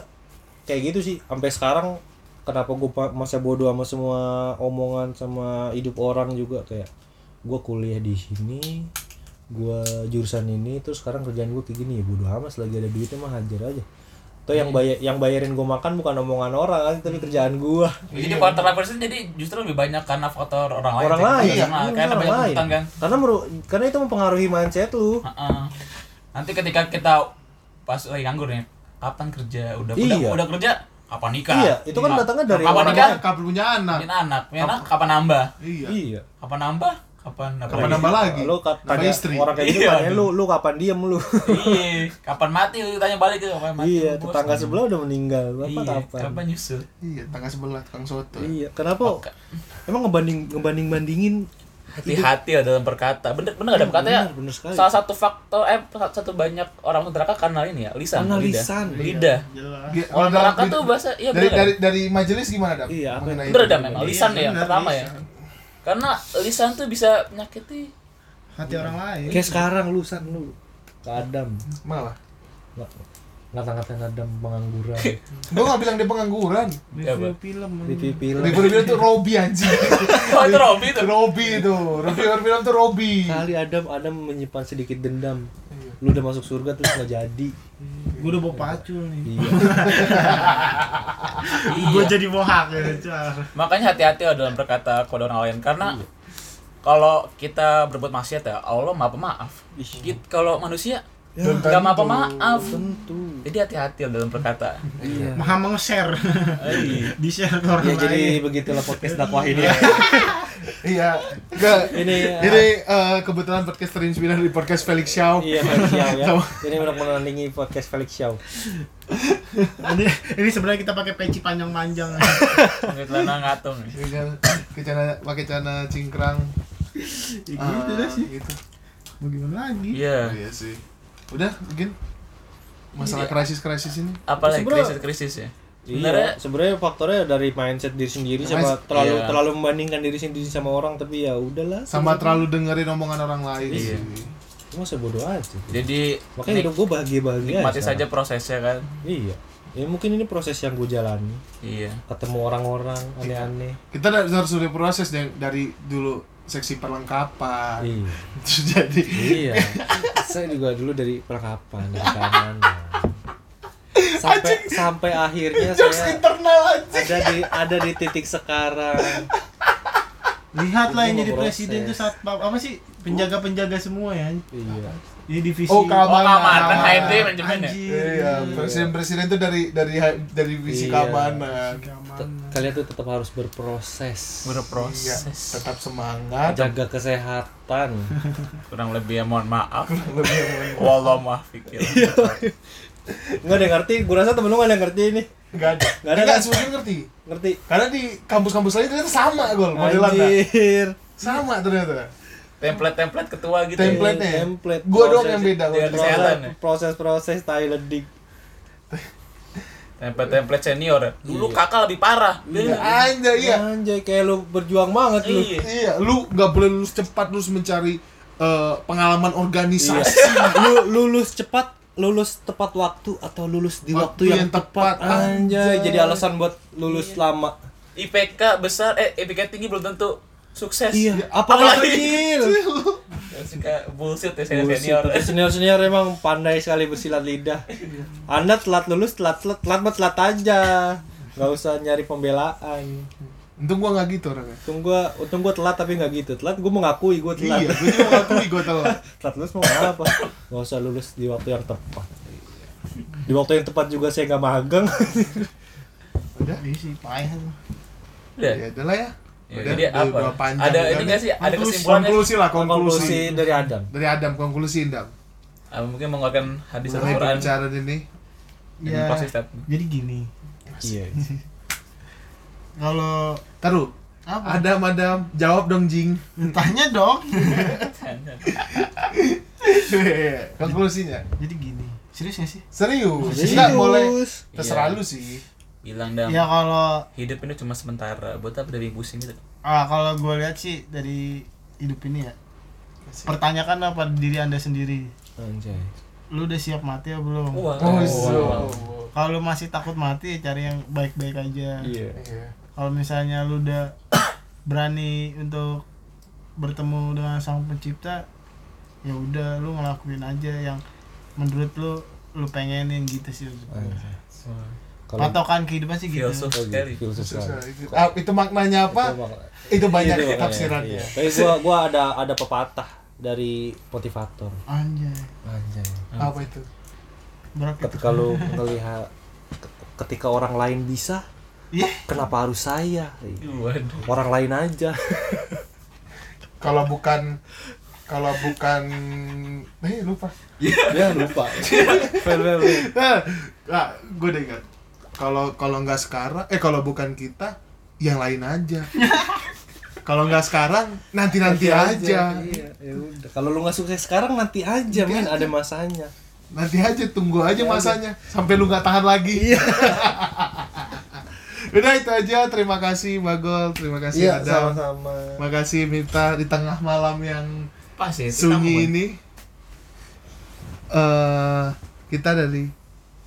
Speaker 4: kayak gitu sih sampai sekarang kenapa gue masa bodoh sama semua omongan sama hidup orang juga kayak gue kuliah di sini gue jurusan ini terus sekarang kerjaan gue kayak gini ya bodoh amat selagi ada duitnya mah hajar aja atau yang bayar yang bayarin gue makan bukan omongan orang tapi
Speaker 6: Hmm.
Speaker 4: kerjaan gue
Speaker 6: jadi faktor diversity jadi justru lebih banyak karena faktor orang lain
Speaker 4: orang
Speaker 6: sih.
Speaker 4: lain
Speaker 6: Karena-
Speaker 4: Iya,
Speaker 6: karena banyak tuntutan kan
Speaker 4: karena meru- karena itu mempengaruhi mindset lu
Speaker 6: Heeh. nanti ketika kita pas lagi nganggur nih kapan kerja udah udah,
Speaker 4: Iya.
Speaker 6: udah kerja kapan nikah
Speaker 4: iya itu kan datangnya dari
Speaker 6: Apa
Speaker 3: Kapan
Speaker 4: orang
Speaker 6: nikah?
Speaker 3: nikah? Kapan punya anak?
Speaker 6: Punya anak punya anak kapan nambah
Speaker 3: Iya.
Speaker 4: iya
Speaker 6: kapan nambah kapan
Speaker 3: Kapan nambah lagi?
Speaker 4: lu kat-
Speaker 3: Nama
Speaker 4: tanya
Speaker 3: istri.
Speaker 4: orang kayak gitu
Speaker 6: Iya.
Speaker 4: tanya lu lu kapan diem lu
Speaker 6: iya kapan mati lu tanya balik gitu kapan mati
Speaker 4: iya,
Speaker 6: lu, bos?
Speaker 4: tetangga sebelah udah meninggal. Bapak
Speaker 6: iya,
Speaker 4: kapan?
Speaker 6: kapan nyusul
Speaker 3: Iya, tangga sebelah tukang soto.
Speaker 4: Iya, kenapa?
Speaker 6: Oke.
Speaker 4: Emang ngebanding ngebanding bandingin
Speaker 6: hati-hati lah dalam berkata bener bener ada berkata ya
Speaker 4: Iya, bener, bener sekali.
Speaker 6: salah satu faktor eh salah satu banyak orang masuk neraka karena ini ya lisan
Speaker 4: Karena
Speaker 6: lidah
Speaker 4: lisan. iya.
Speaker 6: lidah
Speaker 5: jelas
Speaker 3: Ge-
Speaker 6: Orang
Speaker 3: dalam-
Speaker 6: neraka tuh bahasa iya
Speaker 3: dari,
Speaker 6: bener
Speaker 3: dari dari majelis gimana dap?
Speaker 4: Iya, apa-
Speaker 3: Mengenai
Speaker 6: bener
Speaker 3: itu?
Speaker 6: dah memang lisan
Speaker 5: Iya,
Speaker 6: ya yang
Speaker 5: bener,
Speaker 6: pertama ya
Speaker 5: lisan.
Speaker 6: karena lisan tuh bisa menyakiti
Speaker 5: hati
Speaker 4: Iya.
Speaker 5: orang lain
Speaker 4: kayak sekarang lu san lu ke Adam.
Speaker 3: Malah.
Speaker 4: Nggak- Ngata-ngatain Adam pengangguran.
Speaker 3: Gua gak bilang dia pengangguran.
Speaker 5: review film
Speaker 4: Di film.
Speaker 3: Reviewer film tuh Robi anjing.
Speaker 6: oh itu Robi tuh
Speaker 3: Robi itu. Reviewer film tuh Robi.
Speaker 4: Kali Adam Adam menyimpan sedikit dendam.
Speaker 6: Iya.
Speaker 4: Lu udah masuk surga terus nggak jadi.
Speaker 5: gue udah bawa pacul nih
Speaker 4: Iya.
Speaker 5: gue
Speaker 6: iya.
Speaker 5: jadi bohak ya Car.
Speaker 4: Iya.
Speaker 6: makanya hati-hati lah dalam berkata kepada orang lain karena kalau kita berbuat maksiat ya Allah maaf maaf Git- kalau manusia
Speaker 3: Dan
Speaker 6: nggak
Speaker 3: tadi
Speaker 6: maaf
Speaker 3: tuh,
Speaker 6: maaf
Speaker 4: Tentu.
Speaker 6: jadi hati-hati lah dalam berkata
Speaker 4: Iya.
Speaker 5: maha meng-share di share ke orang
Speaker 4: Ya
Speaker 5: lain
Speaker 4: jadi begitulah podcast dakwah ini.
Speaker 3: Iya. Gak.
Speaker 4: Ini
Speaker 3: Ini eh, kebetulan podcast terinspirasi dari podcast Felix Xiao.
Speaker 4: Iya, Felix Xiao ya.
Speaker 3: Sama-
Speaker 4: Ini udah menandingi podcast Felix Xiao.
Speaker 5: ini, ini sebenarnya kita pakai peci panjang-panjang
Speaker 6: Nggak celana ngatung
Speaker 3: Ini kan, Pakai celana pakai celana cingkrang.
Speaker 5: ya,
Speaker 3: Ah,
Speaker 5: gitu dah sih
Speaker 3: gitu.
Speaker 5: mau gimana lagi
Speaker 6: iya
Speaker 3: Iya sih. Udah, mungkin masalah krisis-krisis ini.
Speaker 6: apalagi
Speaker 4: Sebenarnya-
Speaker 6: krisis-krisis ya
Speaker 4: Iya,
Speaker 6: sebenarnya
Speaker 4: sebenarnya faktornya dari mindset diri sendiri sama
Speaker 3: Mindset,
Speaker 4: terlalu
Speaker 6: iya.
Speaker 4: terlalu membandingkan diri sendiri sama orang tapi ya udahlah.
Speaker 3: Sama terlalu dengerin omongan orang lain.
Speaker 6: Iya.
Speaker 3: sih.
Speaker 4: Cuma sebodoh aja.
Speaker 6: jadi
Speaker 4: Makanya hidup Iya, gue bahagia-bahagia
Speaker 6: nikmati
Speaker 4: aja
Speaker 6: saja prosesnya kan
Speaker 4: sekarang. Iya. Ya mungkin ini proses yang gue jalani,
Speaker 6: iya
Speaker 4: ketemu orang-orang aneh-aneh.
Speaker 3: Kita harus harus udah proses dari, dari dulu seksi perlengkapan.
Speaker 4: Iya.
Speaker 3: Terus jadi
Speaker 4: iya. Saya juga dulu dari perkapan dari kanan. Sampai sampai akhirnya
Speaker 3: jokes
Speaker 4: saya
Speaker 3: internal aja.
Speaker 4: ada di ada di titik sekarang.
Speaker 5: lihatlah yang
Speaker 4: Ini
Speaker 5: jadi
Speaker 4: mau
Speaker 5: presiden itu
Speaker 4: proses.
Speaker 5: saat apa sih penjaga-penjaga semua ya
Speaker 4: Iya.
Speaker 5: ini divisi
Speaker 3: Oh,
Speaker 6: oh
Speaker 3: keamanan.
Speaker 6: keamanan HRD
Speaker 5: Anjir.
Speaker 6: manajemen ya
Speaker 3: Iya, presiden-presiden itu dari dari dari visi
Speaker 4: Iya.
Speaker 3: keamanan.
Speaker 4: Te-
Speaker 5: Keamanan.
Speaker 4: Kalian tuh tetap harus berproses.
Speaker 3: Iya,
Speaker 6: berproses
Speaker 3: tetap semangat.
Speaker 4: jaga kesehatan.
Speaker 6: kurang lebih ya mohon maaf
Speaker 3: Lebih aman.
Speaker 6: Wallah maaf pikir
Speaker 3: Iya.
Speaker 4: Enggak ada yang ngerti, gua rasa temen lu nggak ada yang ngerti ini.
Speaker 3: Enggak ada.
Speaker 4: Nggak ada,
Speaker 3: Enggak
Speaker 4: kan?
Speaker 3: semuanya ngerti.
Speaker 4: Ngerti?
Speaker 3: Karena di kampus-kampus lain ternyata sama gol modelannya.
Speaker 4: Anjir.
Speaker 3: Sama ternyata.
Speaker 6: template-template ketua gitu ya.
Speaker 3: Template nih.
Speaker 4: Template.
Speaker 3: Gua doang
Speaker 4: Proses-
Speaker 3: yang beda. gua
Speaker 6: Iya,
Speaker 3: doang.
Speaker 6: kesehatan.
Speaker 4: Proses- Proses-proses tai ledik.
Speaker 6: template-template senior dulu kakak lebih parah
Speaker 3: Iya,
Speaker 6: Dia-
Speaker 3: Anjay, iya.
Speaker 4: Anjay, kayak lu berjuang banget lu.
Speaker 6: Iya.
Speaker 3: Iya, lu nggak boleh
Speaker 4: Iya.
Speaker 3: lulus cepat lulus mencari eh, pengalaman organisasi.
Speaker 4: Lu lulus cepat lulus tepat waktu atau lulus di
Speaker 3: Waktu
Speaker 4: waktu,
Speaker 3: yang
Speaker 4: yang,
Speaker 3: tepat,
Speaker 4: tepat, anjay.
Speaker 3: anjay.
Speaker 4: jadi alasan buat lulus
Speaker 6: Iya.
Speaker 4: lama
Speaker 6: IPK besar eh IPK tinggi belum tentu sukses
Speaker 3: Ya,
Speaker 4: iya apalagi kecil
Speaker 6: Dan suka bullshit ya senior
Speaker 4: Bullshit,
Speaker 6: senior
Speaker 3: iya.
Speaker 4: tapi Eh, senior-senior emang pandai sekali bersilat lidah anda telat lulus telat telat telat mah telat aja nggak usah nyari pembelaan
Speaker 3: Untung gua nggak gitu orangnya.
Speaker 4: untung gua untung gua telat tapi nggak gitu telat gua mengakui gua telat
Speaker 3: Iya, gue juga ngakui gue telat.
Speaker 4: telat lulus mau apa nggak usah lulus di waktu yang tepat di waktu yang tepat juga saya nggak magang
Speaker 3: Udah,
Speaker 5: Iya sih, payah tuh.
Speaker 6: Udah.
Speaker 3: ya udah lah ya.
Speaker 6: Ya,
Speaker 3: Udah,
Speaker 6: jadi
Speaker 3: udah
Speaker 6: apa?
Speaker 3: berapa panjang
Speaker 6: Ada
Speaker 3: udah
Speaker 6: ini
Speaker 3: nih.
Speaker 6: nggak sih? Ada
Speaker 3: Konklusi-
Speaker 6: kesimpulannya?
Speaker 3: Konklusi lah, konklusi.
Speaker 4: konklusi dari Adam
Speaker 3: Dari Adam konklusi Indam.
Speaker 6: Ah, mungkin mengeluarkan hadis
Speaker 3: Mulai
Speaker 6: Al-Quran
Speaker 3: pembicaraan ini. Iya.
Speaker 6: dengan
Speaker 5: Ya,
Speaker 6: konsisten.
Speaker 5: jadi gini.
Speaker 4: iya
Speaker 5: Kalau
Speaker 3: Taruh.
Speaker 5: apa?
Speaker 3: Adam, Adam, jawab dong Jing.
Speaker 5: Tanya dong.
Speaker 3: Konklusinya.
Speaker 5: jadi gini. Serius gak sih?
Speaker 3: Serius.
Speaker 4: Serius.
Speaker 3: Enggak boleh. Terserah
Speaker 6: Iya.
Speaker 3: lu sih.
Speaker 6: Bilang dam,
Speaker 3: Iya.
Speaker 5: Ya kalau
Speaker 6: hidup ini cuma sementara. Buat apa dari pusing gitu?
Speaker 5: ah kalau gue lihat sih dari hidup ini ya. Pertanyakan apa diri Anda sendiri.
Speaker 4: anjay
Speaker 5: Lu udah siap mati atau belum?
Speaker 6: Wah,
Speaker 3: Oh,
Speaker 6: wah.
Speaker 3: so.
Speaker 5: Kalau lu masih takut mati, ya cari yang baik-baik aja.
Speaker 4: iya
Speaker 3: Iya.
Speaker 5: Kalau misalnya lu udah berani untuk bertemu dengan sang pencipta, ya udah lu ngelakuin aja yang menurut lu lu pengenin gitu sih.
Speaker 4: Anjay. kalau
Speaker 5: Patokan kehidupan sih gitu.
Speaker 6: Filsuf
Speaker 4: Oh, gitu, Iya,
Speaker 6: sekali.
Speaker 4: Eh, filsuf
Speaker 3: Susah.
Speaker 4: sekali.
Speaker 3: Itu- ah, Itu maknanya Iya, apa? Itu banyak
Speaker 4: Itu makanya,
Speaker 3: tafsirannya.
Speaker 4: iya. Tapi gua gua ada ada pepatah dari motivator.
Speaker 5: Anjay.
Speaker 4: Anjay.
Speaker 3: Apa itu?
Speaker 5: Berat ya?
Speaker 4: Ketika lu melihat ketika orang lain bisa,
Speaker 5: Iya.
Speaker 4: kenapa harus saya?
Speaker 6: Waduh.
Speaker 4: Orang lain aja.
Speaker 3: Kalau bukan kalau bukan eh lupa.
Speaker 4: ya lupa.
Speaker 3: Ah, ah, gue udah ingat. Kalau kalau nggak sekarang, eh kalau bukan kita, yang lain aja. kalau nggak sekarang, nanti nanti aja.
Speaker 4: Iya, ya udah. Kalau lu nggak sukses sekarang nanti aja, men, ada masanya.
Speaker 3: Nanti aja, tunggu aja masanya sampai lu nggak tahan lagi. udah itu aja. Terima kasih Bagol, terima kasih Adam.
Speaker 4: Iya, sama-sama.
Speaker 3: Terima kasih Mita di tengah malam yang
Speaker 6: Pas ya, kita
Speaker 3: sunyi
Speaker 6: ngomong.
Speaker 3: ini. Eh kita dari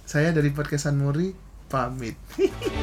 Speaker 3: saya dari podcast Sanmuri pamit.